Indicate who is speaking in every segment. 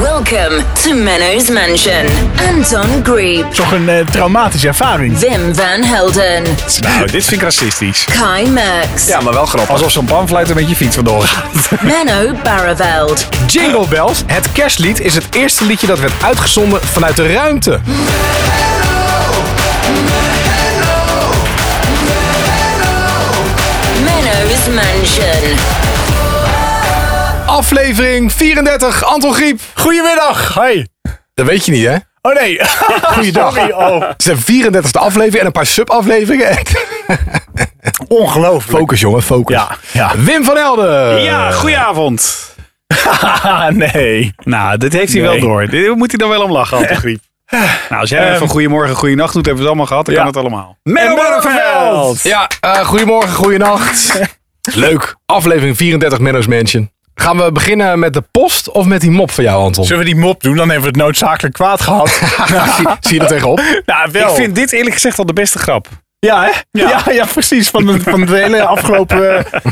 Speaker 1: Welcome to Menno's Mansion. Anton Grieb,
Speaker 2: Toch een eh, traumatische ervaring.
Speaker 1: Wim van Helden,
Speaker 3: Nou, dit vind ik racistisch.
Speaker 1: Kai Merks,
Speaker 3: Ja, maar wel grappig.
Speaker 2: Alsof zo'n panfluit er met je fiets vandoor gaat.
Speaker 1: Menno Barreveld.
Speaker 2: Jingle Bells, het kerstlied, is het eerste liedje dat werd uitgezonden vanuit de ruimte.
Speaker 1: Menno's Mansion.
Speaker 2: Aflevering 34, Anton Griep.
Speaker 3: Goedemiddag. Hi.
Speaker 2: Dat weet je niet, hè?
Speaker 3: Oh nee.
Speaker 2: Goeiedag.
Speaker 3: Sorry, oh.
Speaker 2: Het is de 34e aflevering en een paar sub-afleveringen.
Speaker 3: Ongelooflijk.
Speaker 2: Focus, jongen, focus.
Speaker 3: Ja, ja.
Speaker 2: Wim van Helden.
Speaker 3: Ja, goedenavond. nee. Nou, dit heeft hij
Speaker 2: Nee.
Speaker 3: wel door. Dit moet hij dan wel om lachen, Anton Griep. Nou, als
Speaker 2: Ehm,
Speaker 3: jij even goedemorgen, goeienacht doet, hebben we het allemaal gehad. Dan kan het allemaal.
Speaker 2: Menno
Speaker 3: En
Speaker 2: Barneveld. Ja, eh, goedemorgen, goeienacht. Leuk. Aflevering 34 Menno's Mansion. Gaan we beginnen met de post of met die mop van jou, Anton?
Speaker 4: Zullen we die mop doen? Dan hebben we het noodzakelijk kwaad gehad.
Speaker 2: zie, zie je er tegenop?
Speaker 4: nou, wel.
Speaker 3: Ik vind dit eerlijk gezegd al de beste grap.
Speaker 4: Ja, hè? Ja. Ja, precies. Van, de, van het hele afgelopen eh,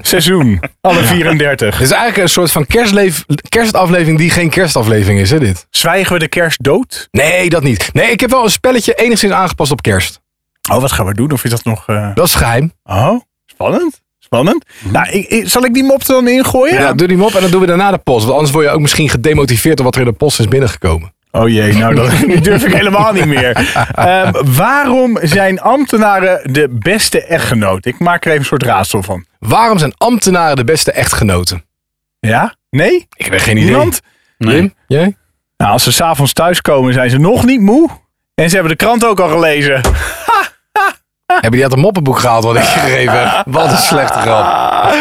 Speaker 4: seizoen. Alle 34.
Speaker 2: Het is eigenlijk een soort van kerstleef, kerstaflevering die geen kerstaflevering is, hè, dit?
Speaker 4: Zwijgen we de kerst dood?
Speaker 2: Nee, dat niet. Nee, ik heb wel een spelletje enigszins aangepast op kerst.
Speaker 4: Oh, wat gaan we doen? Of is dat nog... eh,
Speaker 2: Dat is geheim.
Speaker 4: Oh, spannend. Spannend. Nou, ik, ik- zal ik die mop er dan ingooien?
Speaker 2: Ja. doe die mop en dan doen we daarna de post. Want anders word je ook misschien gedemotiveerd door wat er in de post is binnengekomen.
Speaker 4: Oh jee, nou, dat die durf ik helemaal niet meer. Ehm, waarom zijn ambtenaren de beste echtgenoot? Ik maak er even een soort raadsel van.
Speaker 2: Waarom zijn ambtenaren de beste echtgenoten?
Speaker 4: Ja? Nee?
Speaker 2: Ik heb geen
Speaker 4: Niemand?
Speaker 2: Wim, jij?
Speaker 4: Nou, als ze s'avonds thuiskomen, zijn ze nog niet moe. En ze hebben de krant ook al gelezen.
Speaker 2: Hebben die uit een moppenboek gehaald wat ik je gegeven heb? Wat een slechte grap.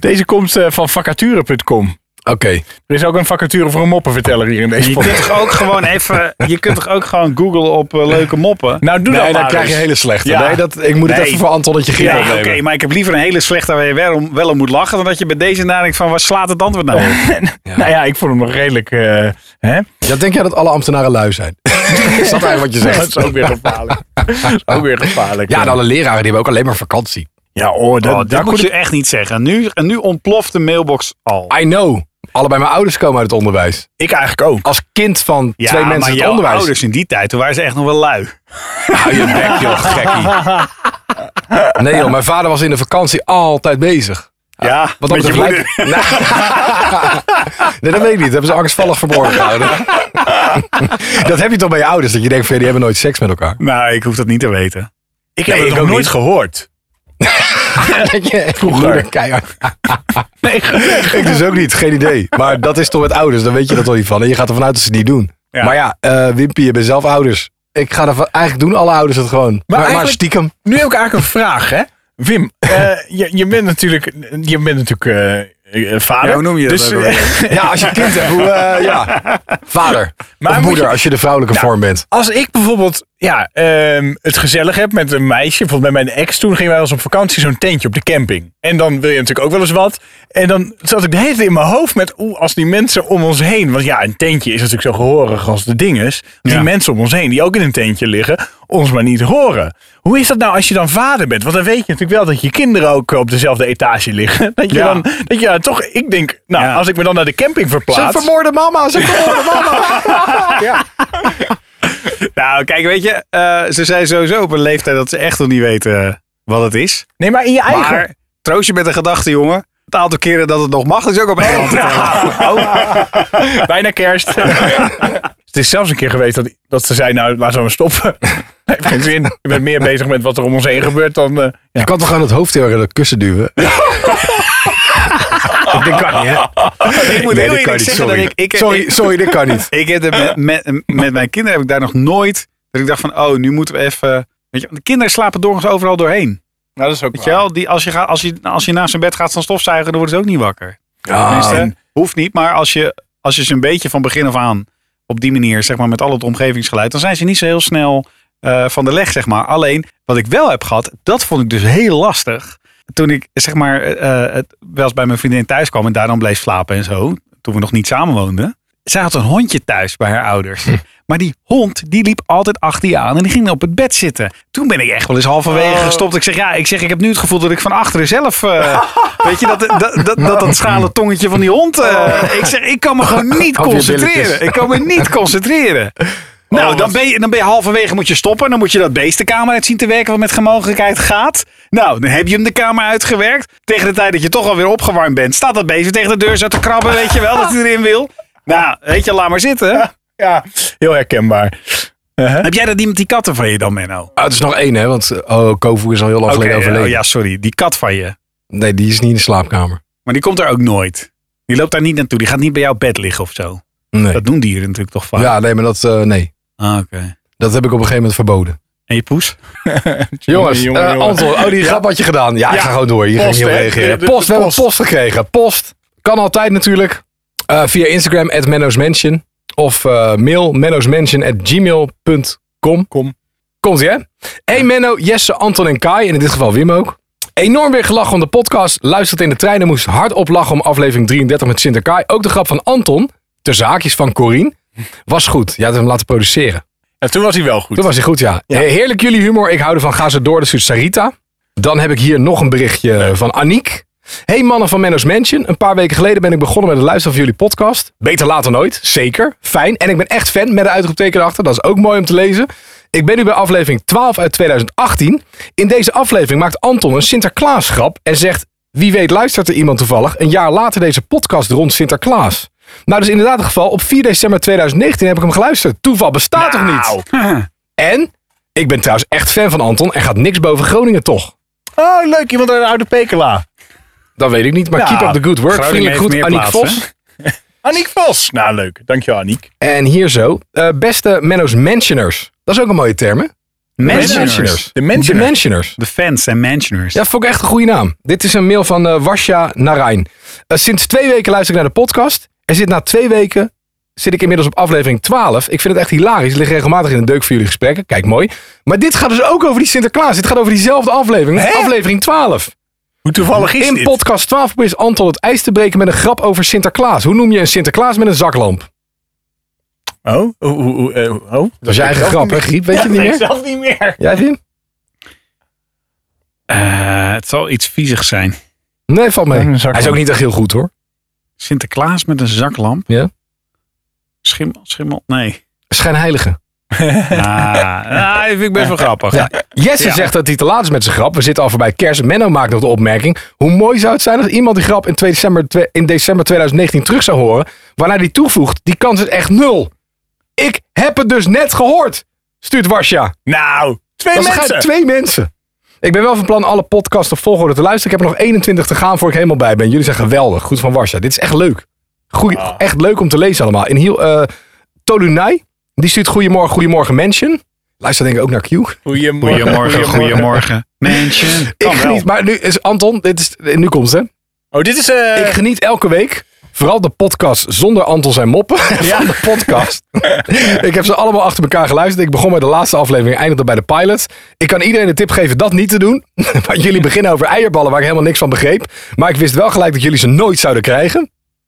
Speaker 4: Deze komt eh, van vacature.com.
Speaker 2: Oké.
Speaker 4: Er is ook een vacature voor een moppenverteller hier in deze
Speaker 3: Je kunt
Speaker 4: podcast.
Speaker 3: toch ook gewoon even, je kunt toch ook gewoon googlen op eh, leuke moppen?
Speaker 4: Nou, doe
Speaker 2: Nee,
Speaker 4: dat
Speaker 2: dan
Speaker 4: maar
Speaker 2: krijg je
Speaker 4: eens.
Speaker 2: hele slechte.
Speaker 4: Ja.
Speaker 2: Nee, dat, ik moet het
Speaker 4: Nee.
Speaker 2: even voor Antonnetje Giel
Speaker 3: dus. Ja,
Speaker 2: opnemen.
Speaker 3: oké, maar ik heb liever een hele slechte waar je wel om, wel om moet lachen, dan dat je bij deze nadenkt van, waar slaat het antwoord nou op?
Speaker 4: Nou ja, ik vond hem nog redelijk... eh, hè?
Speaker 2: Ja, denk jij dat alle ambtenaren lui zijn? is dat eigenlijk wat je
Speaker 4: Dat
Speaker 2: zegt?
Speaker 4: is ook weer gevaarlijk. Dat is ook weer gevaarlijk.
Speaker 2: Ja, en alle leraren die hebben ook alleen maar vakantie.
Speaker 4: ja oh, dat,
Speaker 3: Oh, dat
Speaker 4: daar
Speaker 3: moet
Speaker 4: kon
Speaker 3: je Ah, echt niet zeggen. Nu, en nu ontploft de mailbox al.
Speaker 2: I know. Allebei mijn ouders komen uit het onderwijs.
Speaker 4: ik eigenlijk ook.
Speaker 2: Als kind van twee mensen
Speaker 3: maar
Speaker 2: uit het
Speaker 3: jouw
Speaker 2: onderwijs.
Speaker 3: ouders in die tijd, toen waren ze echt nog wel lui. Ah,
Speaker 2: Hou je bek, joh, gekkie. Nee, joh, mijn vader was in de vakantie altijd bezig.
Speaker 3: Ja,
Speaker 2: Wat dan
Speaker 3: met je
Speaker 2: betreft
Speaker 3: moeder.
Speaker 2: lijkt- Nou, nee, dat weet ik niet. Dat hebben ze angstvallig verborgen gehouden. dat heb je toch bij je ouders, dat je denkt, van, ja, die hebben nooit seks met elkaar.
Speaker 3: Nou, ik hoef dat niet te weten.
Speaker 4: Ik
Speaker 2: Nee,
Speaker 4: heb
Speaker 2: ik
Speaker 4: het nog
Speaker 2: ook
Speaker 4: nooit
Speaker 2: niet.
Speaker 4: gehoord.
Speaker 2: Dat je echt moeder keihard. ik dus ook niet, geen idee. Maar dat is toch met ouders, dan weet je dat toch niet van. En je gaat ervan uit dat ze het niet doen.
Speaker 3: Ja.
Speaker 2: Maar ja, eh Wimpy, je bent zelf ouders. Ik ga ervan, eigenlijk doen alle ouders het gewoon. Maar, maar,
Speaker 4: eigenlijk-
Speaker 2: stiekem.
Speaker 4: Nu heb ik eigenlijk een vraag, hè? Wim, eh, je, je bent natuurlijk, je bent natuurlijk eh, eh, vader.
Speaker 3: Ja, hoe noem je dat
Speaker 4: Dus,
Speaker 3: ook alweer?
Speaker 2: Ja, als je een kind hebt, hoe, eh, ja. Vader
Speaker 4: Maar
Speaker 2: of
Speaker 4: moet
Speaker 2: moeder,
Speaker 4: je-
Speaker 2: als je de vrouwelijke vorm bent.
Speaker 4: Als ik bijvoorbeeld ja, ehm, het gezellig heb met een meisje, bijvoorbeeld met mijn ex, toen gingen wij wel eens op vakantie zo'n tentje op de camping. En dan wil je natuurlijk ook wel eens wat. En dan zat ik de hele tijd in mijn hoofd met, oeh, als die mensen om ons heen, want ja, een tentje is natuurlijk zo gehorig als de dinges, die
Speaker 3: Ja.
Speaker 4: mensen om ons heen die ook in een tentje liggen, ons maar niet horen. Hoe is dat nou als je dan vader bent? Want dan weet je natuurlijk wel dat je kinderen ook op dezelfde etage liggen. Dat je
Speaker 3: Ja.
Speaker 4: dan, dat je dan toch, ik denk, nou,
Speaker 3: Ja.
Speaker 4: als ik me dan naar de camping verplaats.
Speaker 2: vermoorde mama, ze vermoorde mama. ja.
Speaker 3: Nou, kijk, weet je, eh, ze zijn sowieso op een leeftijd dat ze echt nog niet weten eh, wat het is.
Speaker 4: Nee, maar in je eigen.
Speaker 3: Maar troost je met de gedachte, jongen. Het aantal keren dat het nog mag, is ook op één hand te tellen.
Speaker 4: Bijna kerst. het is zelfs een keer geweest dat, dat ze zei, nou, laten we maar stoppen. Heeft geen zin. Ik ben meer bezig met wat er om ons heen gebeurt dan... eh,
Speaker 2: Je kan toch aan het hoofd heel erg in de kussen duwen? dit kan niet, hè?
Speaker 3: Ik moet
Speaker 2: Nee,
Speaker 3: heel
Speaker 2: dit
Speaker 3: eerlijk
Speaker 2: kan niet,
Speaker 3: zeggen
Speaker 2: sorry.
Speaker 3: Oh, dat ik... ik
Speaker 2: sorry, sorry, dit kan niet.
Speaker 3: Ik heb er met, met, met mijn kinderen heb ik daar nog nooit. Dat ik dacht van, oh, nu moeten we even. Weet je, want de kinderen slapen doorgaans overal doorheen.
Speaker 4: nou, dat is ook
Speaker 3: Weet je wel, die, als, je gaat, als, je, als je naast zijn bed gaat staan stofzuigen, dan worden ze ook niet wakker. Tenminste, hoeft niet, maar als je, als je ze een beetje van begin af aan op die manier, zeg maar, met al het omgevingsgeluid, dan zijn ze niet zo heel snel eh, van de leg, zeg maar. Alleen, wat ik wel heb gehad, dat vond ik dus heel lastig. Toen ik, zeg maar, eh, eh, het, wel eens bij mijn vriendin thuis kwam en daar dan bleef slapen en zo, toen we nog niet samen woonden zij had een hondje thuis bij haar ouders. Maar die hond, die liep altijd achter je aan en die ging op het bed zitten. Toen ben ik echt wel eens halverwege
Speaker 2: Oh.
Speaker 3: gestopt. Ik zeg, ja, ik zeg, ik heb nu het gevoel dat ik van achteren zelf, eh, weet je, dat dat, dat, dat, dat schrale tongetje van die hond. eh, ik zeg, ik kan me gewoon niet
Speaker 2: Oh. Op je
Speaker 3: concentreren.
Speaker 2: billetjes.
Speaker 3: Ik kan me niet concentreren. Nou, dan ben, je, dan ben je halverwege moet je stoppen. Dan moet je dat beestenkamer uit zien te werken wat met gemogelijkheid gaat. Nou, dan heb je hem de kamer uitgewerkt. Tegen de tijd dat je toch alweer opgewarmd bent, staat dat beest weer tegen de deur zo te krabben. Weet je wel dat hij erin wil. Nou, weet je, laat maar zitten.
Speaker 4: Ja, heel herkenbaar.
Speaker 3: Heb jij dat niet met die katten van je dan, Menno?
Speaker 2: Ah, het is nog één, hè? Want eh, oh, Kofu is al heel lang
Speaker 3: Oké,
Speaker 2: geleden overleden.
Speaker 3: oh ja, sorry. Die kat van je.
Speaker 2: Nee, die is niet in de slaapkamer.
Speaker 3: Maar die komt er ook nooit. Die loopt daar niet naartoe. Die gaat niet bij jouw bed liggen of zo.
Speaker 2: Nee.
Speaker 3: Dat doen dieren natuurlijk toch vaak.
Speaker 2: ja, nee, maar dat, eh, nee.
Speaker 3: Ah, oké.
Speaker 2: dat heb ik op een gegeven moment verboden.
Speaker 3: En je poes?
Speaker 2: Jongens,
Speaker 4: jongen,
Speaker 2: eh,
Speaker 4: jongen.
Speaker 2: Anton, oh, die grap had je gedaan. Ja, ik ga gewoon door. Je ging
Speaker 4: Post,
Speaker 2: niet op
Speaker 4: hè?
Speaker 2: reageren.
Speaker 4: De- de-
Speaker 2: Post, we
Speaker 4: de
Speaker 2: hebben
Speaker 4: post.
Speaker 2: post gekregen. Post kan altijd natuurlijk. Eh, via Instagram, at menno'smansion. Of eh, mail, menno'smansion at gmail.com.
Speaker 4: Kom.
Speaker 2: Komt ie, hè? Hey Menno, Jesse, Anton en Kai. En in dit geval Wim ook. Enorm weer gelachen om de podcast. Luistert in de trein en moest hard op lachen om aflevering 33 met Sinter Kai. Ook de grap van Anton, ter zaakjes van Corine, was goed. Je had hem laten produceren.
Speaker 4: En toen was hij wel goed.
Speaker 2: Toen was hij goed, ja. Eh, Heerlijk jullie humor. Ik hou ervan. Ga ze door. Dat is Sarita. Dan heb ik hier nog een berichtje van Aniek. Hey mannen van Menno's Mansion. Een paar weken geleden ben ik begonnen met het luisteren van jullie podcast. Beter later nooit. Zeker. Fijn. En ik ben echt fan met een uitroepteken erachter. Dat is ook mooi om te lezen. Ik ben nu bij aflevering 12 uit 2018. In deze aflevering maakt Anton een Sinterklaasgrap en zegt... Wie weet luistert er iemand toevallig een jaar later deze podcast rond Sinterklaas. Nou, dat is inderdaad het geval. Op 4 december 2019 heb ik hem geluisterd. Toeval
Speaker 4: Ah,
Speaker 2: bestaat
Speaker 4: Nou,
Speaker 2: toch niet? En ik ben trouwens echt fan van Anton en gaat niks boven Groningen toch?
Speaker 4: Oh, leuk. Iemand uit de oude Pekela.
Speaker 2: Dat weet ik niet, maar
Speaker 4: Ja,
Speaker 2: keep up the good work.
Speaker 3: Groningen
Speaker 2: Vriendelijk
Speaker 3: heeft meer
Speaker 2: groet, Aniek
Speaker 3: plaats, hè?
Speaker 2: Vos.
Speaker 4: Aniek Vos. Nou, leuk. Dankjewel, Aniek.
Speaker 2: En hier zo, eh, beste Menno's Mentioners. Dat is ook een mooie term, hè?
Speaker 3: Mansioners.
Speaker 4: De Mentioners.
Speaker 2: De Mentioners.
Speaker 3: De fans en mansioners.
Speaker 2: Dat vond ik echt een goede naam. Dit is een mail van eh Wasja Narijn. Eh, sinds twee weken luister ik naar de podcast. En zit na twee weken zit ik inmiddels op aflevering 12. Ik vind het echt hilarisch. Ik lig regelmatig in de deuk voor jullie gesprekken. Kijk, mooi. Maar dit gaat dus ook over die Sinterklaas. Dit gaat over diezelfde aflevering. Aflevering 12.
Speaker 4: Hoe toevallig is
Speaker 2: In
Speaker 4: dit?
Speaker 2: podcast 12 probeert Anton het ijs te breken met een grap over Sinterklaas. Hoe noem je een Sinterklaas met een zaklamp?
Speaker 4: Oh, hoe- hoe- hoe- eh, oh.
Speaker 2: Dat is je eigen grap, hè, Griep? Weet je het niet meer?
Speaker 4: zelf niet meer.
Speaker 2: Jij, Wim?
Speaker 3: Eh, het zal iets viezig zijn.
Speaker 2: Nee, valt mee.
Speaker 4: Met een zaklamp.
Speaker 2: Hij is ook niet echt heel goed, hoor.
Speaker 3: Sinterklaas met een zaklamp.
Speaker 2: Ja.
Speaker 3: Schimmel, schimmel, nee.
Speaker 2: Schijnheilige.
Speaker 3: Ah, ah, die vind ik best wel grappig.
Speaker 2: Ja. Jesse
Speaker 3: Ja.
Speaker 2: zegt dat hij te laat is met zijn grap. We zitten al voorbij kerst. Menno maakt nog de opmerking. Hoe mooi zou het zijn als iemand die grap in, 2 december, twe- in december 2019 terug zou horen. Waarna die toevoegt, die kans is echt nul. Ik heb het dus net gehoord, stuurt Wasja.
Speaker 4: Nou, twee
Speaker 2: Dat
Speaker 4: mensen.
Speaker 2: zijn twee mensen. Ik ben wel van plan alle podcasts op volgorde te luisteren. Ik heb er nog 21 te gaan voor ik helemaal bij ben. Jullie zijn geweldig. Goed van Warsa. Dit is echt leuk. Goeie, Echt leuk om te lezen allemaal. In heel, eh Tolunai, die stuurt Goedemorgen, Goedemorgen Menschen. Luister denk ik ook naar Q.
Speaker 4: Goedemorgen.
Speaker 3: Goedemorgen, goedemorgen. Mansion.
Speaker 2: Ik
Speaker 4: Kan wel.
Speaker 2: geniet, maar nu is Anton, dit is, nu komt het hè.
Speaker 4: Oh, dit is... eh,
Speaker 2: Ik geniet elke week. Vooral de podcast zonder Anton zijn moppen. Van de podcast. ik heb ze allemaal achter elkaar geluisterd. Ik begon bij de laatste aflevering, eindigde bij de pilot. Ik kan iedereen de tip geven dat niet te doen. maar jullie beginnen over eierballen waar ik helemaal niks van begreep. Maar ik wist wel gelijk dat jullie ze nooit zouden krijgen.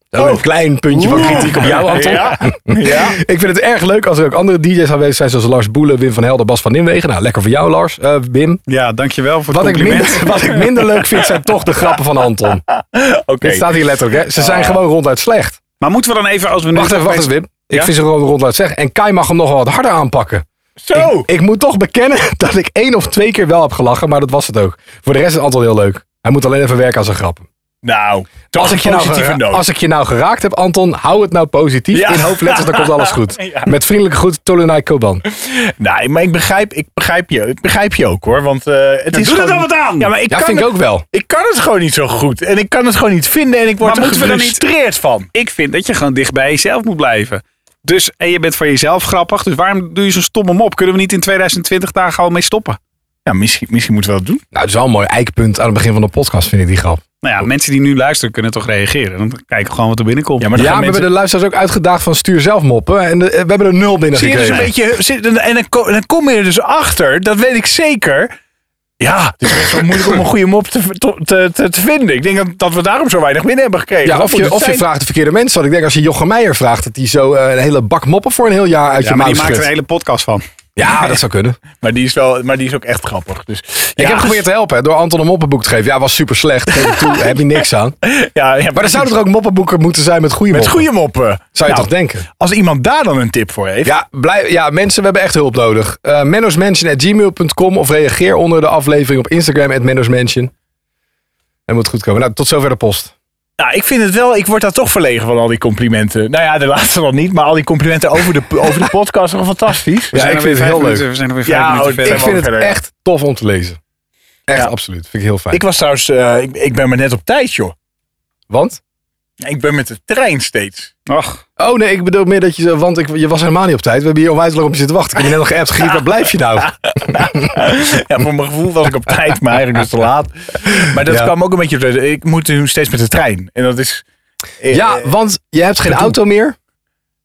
Speaker 4: Oh.
Speaker 2: Zo Een klein puntje van kritiek op jou, Anton.
Speaker 4: Ja. ja.
Speaker 2: Ik vind het erg leuk als er ook andere DJ's aanwezig zijn, zoals Lars Boelen, Wim van Helder, Bas van Nimwegen. Nou, lekker voor jou, Lars. Eh, Wim.
Speaker 3: Ja, dankjewel voor het
Speaker 2: Wat ik,
Speaker 3: compliment.
Speaker 2: minder, wat ik minder leuk vind zijn toch de grappen van Anton.
Speaker 4: Oké. Ah.
Speaker 2: Dit staat hier letterlijk, hè? Ze zijn gewoon ronduit slecht.
Speaker 3: Maar moeten we dan even, als we nu...
Speaker 2: Wacht even, wacht even, Wim. Ik
Speaker 3: Ja?
Speaker 2: vind ze gewoon ronduit zeggen. En Kai mag hem nog wel wat harder aanpakken.
Speaker 4: Zo.
Speaker 2: Ik moet toch bekennen dat ik één of twee keer wel heb gelachen, maar dat was het ook. Voor de rest is het Anton heel leuk. Hij moet alleen even werken aan zijn grappen.
Speaker 4: nou, toch
Speaker 2: Als ik, je nou
Speaker 4: positieve
Speaker 2: gera-
Speaker 4: noot.
Speaker 2: als ik je nou geraakt heb, Anton, hou het nou positief.
Speaker 4: Ja.
Speaker 2: In hoofdletters, dan komt alles goed.
Speaker 4: Ja.
Speaker 2: Met vriendelijke groet, Tolunai Koban.
Speaker 4: Nee, maar ik begrijp, ik begrijp, je, ik begrijp je ook hoor. Want eh, het is
Speaker 3: doe er
Speaker 4: gewoon-
Speaker 3: dan wat aan!
Speaker 4: Ja, maar ik,
Speaker 2: Ja,
Speaker 4: kan
Speaker 2: vind ik
Speaker 4: het,
Speaker 2: ook wel.
Speaker 4: ik kan het gewoon niet zo goed. En ik kan het gewoon niet vinden. En ik word
Speaker 3: Maar
Speaker 4: er
Speaker 3: moeten we dan niet-
Speaker 4: gefrustreerd van.
Speaker 3: Ik vind dat je gewoon dicht bij jezelf moet blijven. Dus, en je bent van jezelf grappig, dus waarom doe je zo'n stomme mop? Kunnen we niet in 2020 daar gewoon mee stoppen?
Speaker 4: Ja, misschien, misschien moeten we dat doen.
Speaker 2: Nou, het is wel een mooi eikpunt aan het begin van de podcast, vind ik die grap.
Speaker 3: Nou ja, mensen die nu luisteren kunnen toch reageren. Dan kijken we gewoon wat er binnenkomt.
Speaker 4: Ja, maar dan
Speaker 2: ja,
Speaker 4: gaan
Speaker 2: we
Speaker 4: mensen-
Speaker 2: hebben de luisteraars ook uitgedaagd van stuur zelf moppen. En de- we hebben er nul binnen
Speaker 4: Zie je dus
Speaker 2: gekregen.
Speaker 4: een beetje, zit- en dan, ko- dan kom je er dus achter, dat weet ik zeker. Ja, het is best wel moeilijk om een goede mop te, te, te, te vinden. Ik denk dat, dat we daarom zo weinig binnen hebben gekregen.
Speaker 2: Ja,
Speaker 4: Dat
Speaker 2: of
Speaker 4: moet
Speaker 2: je,
Speaker 4: het
Speaker 2: of je
Speaker 4: zijn.
Speaker 2: vraagt de verkeerde mensen. Want ik denk als je Jochem Meijer vraagt, dat hij zo eh, een hele bak moppen voor een heel jaar uit
Speaker 3: Ja,
Speaker 2: je
Speaker 3: maar
Speaker 2: mouw
Speaker 3: die maakt
Speaker 2: schudt.
Speaker 3: een hele podcast van.
Speaker 2: Ja, dat zou kunnen.
Speaker 4: Maar die, is wel, maar die is ook echt grappig. Dus,
Speaker 2: ik heb
Speaker 4: ja,
Speaker 2: geprobeerd te helpen hè, door Anton een moppenboek te geven. Ja, was super slecht. Geef ik toe, daar heb je niks aan.
Speaker 4: ja, ja,
Speaker 2: Maar er zouden er ook moppenboeken moeten zijn met goede
Speaker 4: met
Speaker 2: moppen.
Speaker 4: goede moppen.
Speaker 2: Zou
Speaker 4: Nou,
Speaker 2: je toch denken?
Speaker 4: Als iemand daar dan een tip voor heeft.
Speaker 2: Ja, blij, ja, mensen, we hebben echt hulp nodig. Uh, mennosmansion.gmail.com of reageer onder de aflevering op Instagram at mennosmansion. En moet goed komen. Nou, tot zover de post.
Speaker 4: Nou, ik vind het wel, ik word daar toch verlegen van al die complimenten. Nou ja, de laatste dan niet, maar al die complimenten over de, over de podcast zijn gewoon fantastisch.
Speaker 2: Ja, ik vind het heel leuk.
Speaker 3: We zijn er weer
Speaker 4: Ja, oh,
Speaker 3: vijf minuten verder.
Speaker 2: Ik
Speaker 4: helemaal
Speaker 2: vind het
Speaker 4: verder, ja.
Speaker 2: echt tof om te lezen. Echt,
Speaker 4: Ja.
Speaker 2: absoluut. Vind ik heel fijn.
Speaker 4: Ik was trouwens, eh, ik, ik ben maar net op tijd, joh.
Speaker 2: Want?
Speaker 4: Ik ben met de trein steeds.
Speaker 3: Ach,
Speaker 2: Oh nee, ik bedoel meer dat je... zo- Want ik, je was helemaal niet op tijd. We hebben hier onwijs lang op je zitten wachten. Ik heb je net nog geappt. Griet, waar blijf je nou?
Speaker 4: Ja, voor mijn gevoel was ik op tijd, maar eigenlijk dus te laat. Maar dat
Speaker 2: Ja.
Speaker 4: kwam ook een beetje, door de- ik moet nu steeds met de trein. En dat is... eh,
Speaker 2: Ja, want je hebt geen auto meer.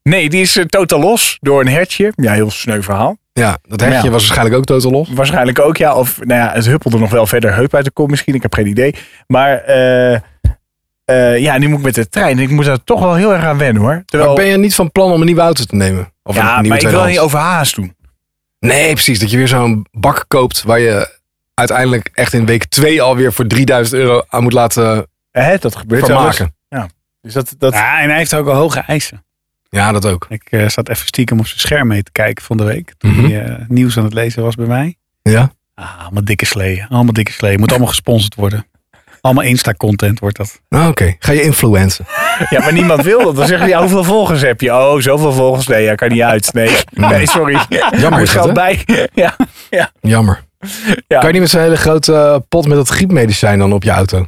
Speaker 4: Nee, die is eh, totaal los door een hertje. Ja, heel sneu verhaal.
Speaker 2: Ja, dat hekje
Speaker 4: Ja.
Speaker 2: was waarschijnlijk ook totaal los.
Speaker 4: Waarschijnlijk ook, ja. Of nou ja, het huppelde nog wel verder heup uit de kom misschien. Ik heb geen idee. Maar eh, eh, ja, nu moet ik met de trein. Ik moet daar toch wel heel erg aan wennen hoor. Terwijl,
Speaker 2: Maar ben je niet van plan om een nieuwe auto te nemen? Of een
Speaker 4: ja,
Speaker 2: nieuwe
Speaker 4: maar ik wil
Speaker 2: tweedehands?
Speaker 4: niet overhaast doen.
Speaker 2: Nee, precies. Dat je weer zo'n bak koopt waar je uiteindelijk echt in week 2 alweer voor 3000 euro aan moet laten
Speaker 4: Hè, dat gebeurt wel eens.
Speaker 2: vermaken.
Speaker 4: Dus dat, dat,
Speaker 3: ja, en hij heeft ook al hoge eisen.
Speaker 2: Ja, dat ook.
Speaker 3: Ik eh, zat even stiekem op zijn scherm mee te kijken van de week. Toen
Speaker 2: Mhm.
Speaker 3: hij eh, nieuws aan het lezen was bij mij.
Speaker 2: Ja.
Speaker 3: Ah, allemaal dikke sleeën. Allemaal dikke sleeën. Moet allemaal gesponsord worden. Allemaal Insta-content wordt dat.
Speaker 2: Nou, Oké, ga je influencen.
Speaker 4: Ja, maar niemand wil dat. Dan zeggen ze, ja, hoeveel volgers heb je? Oh, zoveel volgers. Nee, ja, kan niet uit. Nee, nee sorry.
Speaker 2: Jammer
Speaker 4: Moet
Speaker 2: is dat,
Speaker 4: geld
Speaker 2: hè?
Speaker 4: bij. Ja.
Speaker 2: Jammer. Kan je niet met zo'n hele grote eh, pot met dat griepmedicijn dan op je auto?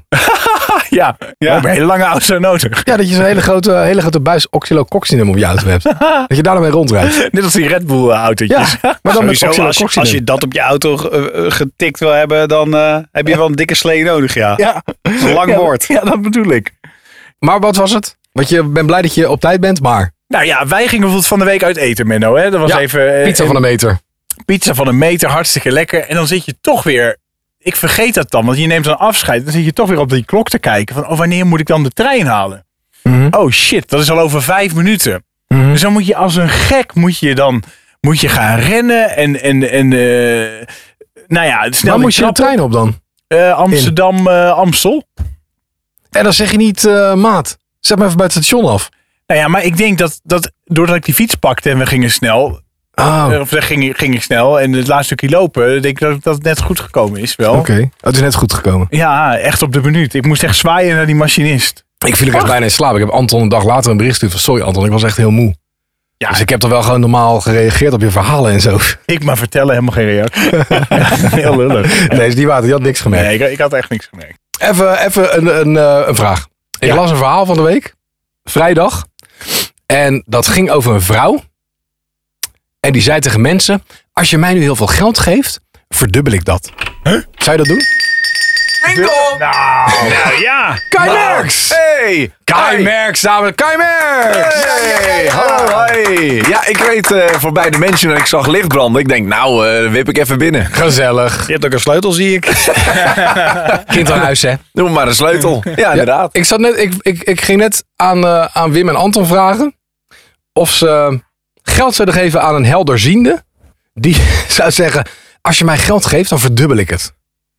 Speaker 4: Ja, ja. een hele lange auto nodig.
Speaker 2: Ja, dat je zo'n hele grote, hele grote buis oxylococcinum op je rondrijdt. Dat je daar dan mee rondrijdt.
Speaker 4: Net als die Red Bull eh,
Speaker 2: Ja,
Speaker 4: autootjes.
Speaker 2: maar dan met
Speaker 3: Sowieso, als, je,
Speaker 2: oxylococcinum.
Speaker 3: als je dat op je auto eh, eh, getikt wil hebben, dan eh, heb je wel een dikke slee nodig, ja.
Speaker 4: Ja.
Speaker 3: Een lang
Speaker 4: Ja,
Speaker 3: woord.
Speaker 4: Ja, dat bedoel ik.
Speaker 2: Maar wat was het? Want je bent blij dat je op tijd bent, maar
Speaker 4: Nou ja, wij gingen bijvoorbeeld van de week uit eten, Menno. Hè? Dat was
Speaker 2: Ja,
Speaker 4: even eh,
Speaker 2: pizza van een meter.
Speaker 4: pizza van een meter, hartstikke lekker. En dan zit je toch weer, ik vergeet dat dan, want je neemt dan afscheid. Dan zit je toch weer op die klok te kijken van, oh, wanneer moet ik dan de trein halen?
Speaker 2: Mhm.
Speaker 4: Oh shit, dat is al over vijf minuten.
Speaker 2: Mhm.
Speaker 4: Dus dan moet je als een gek, moet je dan moet je gaan rennen en, en, en eh, nou ja, snel
Speaker 2: Waar
Speaker 4: die
Speaker 2: moet je de
Speaker 4: trap
Speaker 2: trein op dan?
Speaker 4: op. Eh, Amsterdam, eh, Amstel.
Speaker 2: En dan zeg je niet, eh, maat, zet me even bij het station af.
Speaker 4: Nou ja, maar ik denk dat, dat doordat ik die fiets pakte en we gingen snel,
Speaker 2: Oh,
Speaker 4: Eh, Of daar ging, ging ik snel. En het laatste stukje lopen, denk ik dat dat het net goed gekomen is wel.
Speaker 2: oké. Oh, het is net goed gekomen.
Speaker 4: Ja, echt op de minuut. Ik moest echt zwaaien naar die machinist.
Speaker 2: Ik viel er echt bijna in slaap. Ik heb Anton een dag later een bericht gestuurd van, sorry Anton, ik was echt heel moe.
Speaker 4: Ja.
Speaker 2: Dus ik heb toch wel gewoon normaal gereageerd op je verhalen en zo.
Speaker 4: Ik maar vertellen, helemaal geen reactie. Heel lullig.
Speaker 2: Nee, is die water, die had niks gemerkt.
Speaker 4: Nee, ik, ik had echt niks gemerkt.
Speaker 2: Even, even een, een, eh, een vraag. Ik
Speaker 4: Ja.
Speaker 2: las een verhaal van de week, vrijdag. En dat ging over een vrouw. En die zei tegen mensen, als je mij nu heel veel geld geeft, verdubbel ik dat. Zou je dat doen?
Speaker 4: Nou, ja.
Speaker 2: Kai Merks!
Speaker 4: Hey.
Speaker 2: Kai Merks, dames Kai Merks!
Speaker 5: Hey,
Speaker 2: hallo.
Speaker 5: hallo. Ja, ik reed eh, voorbij de mensen en ik zag licht branden. Ik denk, nou, eh wip ik even binnen.
Speaker 2: Gezellig.
Speaker 3: Je hebt ook een sleutel, zie ik.
Speaker 2: Kind aan huis, hè?
Speaker 5: Noem maar een sleutel. Ja, inderdaad.
Speaker 2: Ik, zat net, ik, ik, ik ging net aan, eh, aan Wim en Anton vragen of ze geld zouden geven aan een helderziende. Die zou zeggen, als je mij geld geeft, dan verdubbel ik het.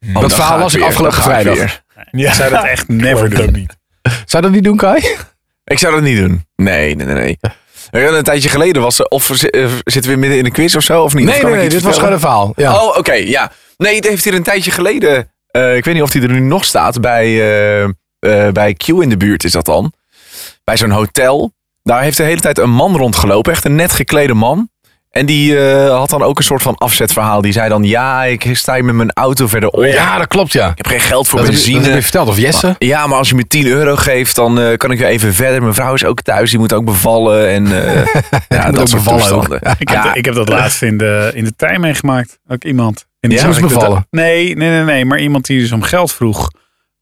Speaker 5: Oh,
Speaker 2: dat
Speaker 5: dan
Speaker 2: verhaal
Speaker 5: ga
Speaker 2: was ik
Speaker 5: weer,
Speaker 2: afgelopen
Speaker 5: dan ga ik
Speaker 2: vrijdag.
Speaker 5: weer.
Speaker 4: Ja. Zou dat echt never doen. Niet.
Speaker 2: Zou dat niet doen, Kai?
Speaker 5: Ik zou dat niet doen. Nee, nee, nee, nee. Eh, Een tijdje geleden was ze, of zi- eh, zitten we midden in een quiz of zo, of niet? Of
Speaker 2: Nee,
Speaker 5: kan
Speaker 2: nee, nee,
Speaker 5: ik iets
Speaker 2: dit was gewoon
Speaker 5: vertellen?
Speaker 2: een verhaal. Ja.
Speaker 5: Oh, oké, ja. Nee, het heeft hier een tijdje geleden. eh, ik weet niet of die er nu nog staat. Bij, eh, eh, bij Q in de buurt is dat dan. Bij zo'n hotel. Daar heeft de hele tijd een man rondgelopen. Echt een net geklede man. En die eh, had dan ook een soort van afzetverhaal. Die zei dan: Ja, ik sta hier met mijn auto verderop. Ik
Speaker 2: Oh ja, dat klopt, ja.
Speaker 5: heb geen geld voor
Speaker 2: Dat heb, je-
Speaker 5: benzine.
Speaker 2: dat heb je verteld, of Jesse?
Speaker 5: Ja, maar als je me 10 euro geeft, dan eh, kan ik weer even verder. Mijn vrouw is ook thuis, die moet ook bevallen. En eh, ja,
Speaker 2: ook
Speaker 5: dat soort
Speaker 2: bevallen
Speaker 5: toestanden.
Speaker 3: Ik, heb, ik heb dat laatst in de, in de trein meegemaakt. Ook iemand. En die
Speaker 5: Ja?
Speaker 3: zag
Speaker 2: Moest
Speaker 3: ik de-
Speaker 2: bevallen?
Speaker 3: Nee, nee, nee, nee. Maar iemand die dus om geld vroeg.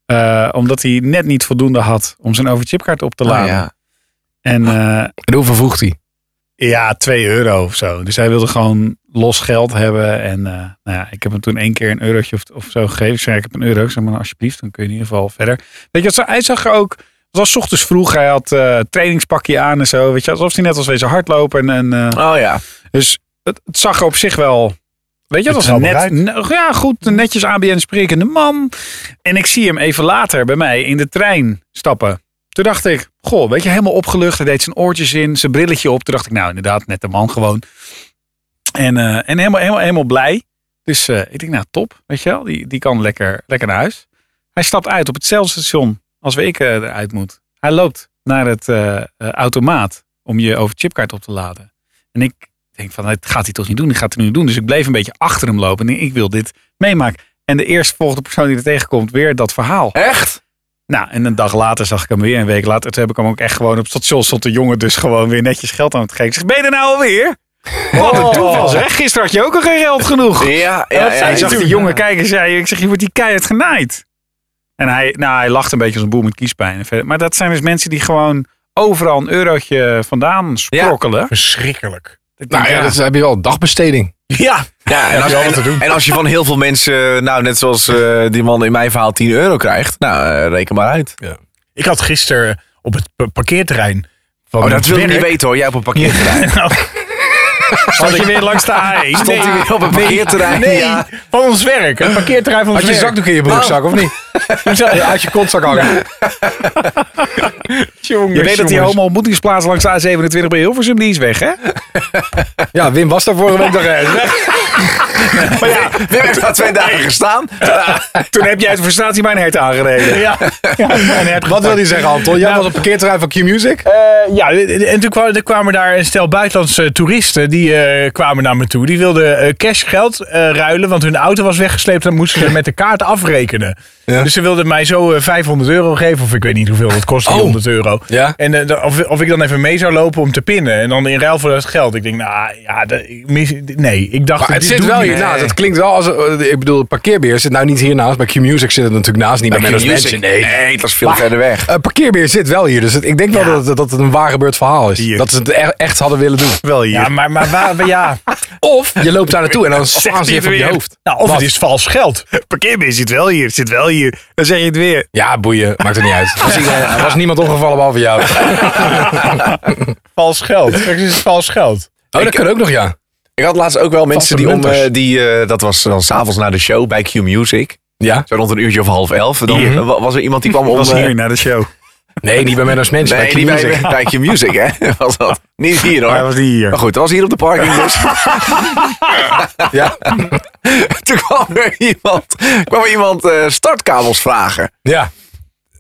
Speaker 3: eh, omdat hij net niet voldoende had om zijn overchipkaart op te
Speaker 5: Oh,
Speaker 3: laden.
Speaker 5: ja.
Speaker 3: En eh,
Speaker 2: En hoeveel vroeg hij?
Speaker 3: ja, 2 euro of zo. Dus hij wilde gewoon los geld hebben. En eh, nou ja, ik heb hem toen één keer een eurotje of, of zo gegeven. Ik zei, ik heb een euro. Ik zei, maar nou, alsjeblieft, dan kun je in ieder geval verder. Weet je, wat, hij zag er ook... Het was 's ochtends vroeg, hij had eh trainingspakje aan en zo. Weet je, alsof hij net als wezen hardlopen. En, en, eh,
Speaker 5: Oh ja.
Speaker 3: dus het, het zag er op zich wel. Weet je, dat was een net,
Speaker 4: Betrouwbaarheid.
Speaker 3: ne- ja, goed, een netjes ABN sprekende man. En ik zie hem even later bij mij in de trein stappen. Toen dacht ik, goh, weet je, helemaal opgelucht. Hij deed zijn oortjes in, zijn brilletje op. Toen dacht ik, nou inderdaad, net de man gewoon. En, eh, en helemaal, helemaal, helemaal blij. Dus eh, ik denk, nou top, weet je wel. Die, die kan lekker, lekker naar huis. Hij stapt uit op hetzelfde station als waar ik eh, eruit moet. Hij loopt naar het eh, eh, automaat om je overchipkaart op te laden. En ik denk van, dat gaat hij toch niet doen? Dat gaat hij nu doen. Dus ik bleef een beetje achter hem lopen. En ik, ik wil dit meemaken. En de eerstvolgende persoon die er tegenkomt, weer dat verhaal.
Speaker 5: Echt?
Speaker 3: Nou, en een dag later zag ik hem weer. Een week later. Toen heb ik hem ook echt gewoon op het station. Stond de jongen dus gewoon weer netjes geld aan het geven. Ik zeg, ben je er nou alweer? Wat een toeval zeg. Gisteren had je ook al geen geld genoeg.
Speaker 2: Oh,
Speaker 5: Ja,
Speaker 3: Ja,
Speaker 5: ja, ja.
Speaker 3: hij zag
Speaker 5: ja.
Speaker 3: die jongen kijken en zei, ik zeg, je wordt die keihard genaaid. En hij, nou, hij lacht een beetje als een boer met kiespijn. En verder- Maar dat zijn dus mensen die gewoon overal een eurotje vandaan sprokkelen.
Speaker 4: Verschrikkelijk.
Speaker 3: Ik denk,
Speaker 2: Nou ja,
Speaker 3: ja.
Speaker 2: dat is- heb je wel een dagbesteding.
Speaker 4: Ja.
Speaker 5: Ja, en als,
Speaker 4: je altijd te
Speaker 5: en,
Speaker 4: doen.
Speaker 5: en als je van heel veel mensen, nou net zoals eh, die man in mijn verhaal 10 euro krijgt, nou eh, reken maar uit.
Speaker 2: Oh,
Speaker 4: Ik had gisteren op het pa- parkeerterrein van
Speaker 5: Oh, dat
Speaker 4: mijn
Speaker 5: wil je niet
Speaker 4: werk-
Speaker 5: weten hoor, jij op een parkeerterrein.
Speaker 3: Zat je weer langs de A1?
Speaker 5: Stond hij weer op een parkeerterrein?
Speaker 4: Nee,
Speaker 5: Ja.
Speaker 4: van ons werk. Het parkeerterrein van ons
Speaker 2: Had je
Speaker 4: werk.
Speaker 2: zakdoek in je
Speaker 5: Oh.
Speaker 2: broekzak of niet? Ja, Uit je kontzak hangen.
Speaker 4: Jongens,
Speaker 3: Je weet dat die
Speaker 4: jongens.
Speaker 3: homo ontmoetingsplaats langs de A27 bij Hilversum, die is weg, hè?
Speaker 2: Ja, Wim was daar vorige week nog eh, weg.
Speaker 5: Weer heeft daar twee dagen gestaan.
Speaker 3: Toen heb jij het voor statie mijn hert aangereden.
Speaker 4: Ja.
Speaker 2: Wat wil hij zeggen, Anton? Jij
Speaker 4: Nou,
Speaker 2: was op parkeerterrein van Q-Music?
Speaker 4: Eh, ja, en toen kwamen, er kwamen daar een stel buitenlandse toeristen. Die eh, kwamen naar me toe. Die wilden eh, cash geld eh, ruilen. Want hun auto was weggesleept. En moesten ze met de kaart afrekenen.
Speaker 2: Ja.
Speaker 4: Dus ze wilden mij zo eh, 500 euro geven. Of ik weet niet hoeveel. Dat kost die
Speaker 2: Oh.
Speaker 4: 100 euro.
Speaker 2: Ja.
Speaker 4: En eh, da- of, of ik dan even mee zou lopen om te pinnen. En dan in ruil voor dat geld. Ik denk, nou ja, dat- ik mis, nee. Ik dacht,
Speaker 2: Maar het
Speaker 4: dit
Speaker 2: zit
Speaker 4: doe
Speaker 2: wel nou,
Speaker 4: ik niet.
Speaker 2: hiernaast.
Speaker 4: Nee.
Speaker 2: Het klinkt wel als... eh, Ik bedoel, parkeerbeheer zit nou niet hiernaast. Bij Q-Music zit het natuurlijk naast. Niet bij
Speaker 5: Bij
Speaker 2: Menno's
Speaker 5: Q-Music?
Speaker 2: Mansion.
Speaker 5: Nee, dat is veel verder weg.
Speaker 2: Eh, parkeerbeheer zit wel hier. Dus het- ik denk wel dat het, dat het een waar gebeurd verhaal is.
Speaker 3: Hier.
Speaker 2: Dat ze het e- echt hadden willen doen.
Speaker 3: Wel hier.
Speaker 4: Ja, maar, maar waar, ja.
Speaker 2: Of je loopt daar naartoe en dan slaan
Speaker 3: hij
Speaker 2: ze je even op
Speaker 3: het
Speaker 2: je
Speaker 3: weer.
Speaker 2: hoofd.
Speaker 4: Nou, of
Speaker 2: Wat?
Speaker 4: het is vals geld.
Speaker 3: parkeerbeheer zit wel hier, zit wel hier. Dan zeg je het weer.
Speaker 2: Ja, boeien. Maakt er niet uit. Er was, iedereen- er was niemand ongevallen behalve jou. Oh,
Speaker 4: Vals geld. Straks is het vals geld.
Speaker 2: dat kan ook nog, ja.
Speaker 5: Ik had laatst ook wel mensen die om,
Speaker 2: munters.
Speaker 5: eh, die, eh, dat was dan s'avonds na de show bij Q Music.
Speaker 2: Ja?
Speaker 5: Zo rond een uurtje of half elf. Dan
Speaker 2: Hier.
Speaker 5: wa- was er iemand die kwam om...
Speaker 3: was
Speaker 5: eh,
Speaker 3: hier naar de show.
Speaker 2: Nee, niet bij Menno's Mansion.
Speaker 5: Nee,
Speaker 2: bij
Speaker 5: die
Speaker 2: Q-Music.
Speaker 5: bij, bij Q Music, hè? Was dat. Niet hier hoor.
Speaker 3: Hij was niet hier.
Speaker 5: Maar goed, dat was hier op de parking dus.
Speaker 2: Ja.
Speaker 5: Toen kwam er iemand, kwam er iemand eh, startkabels vragen.
Speaker 2: ja.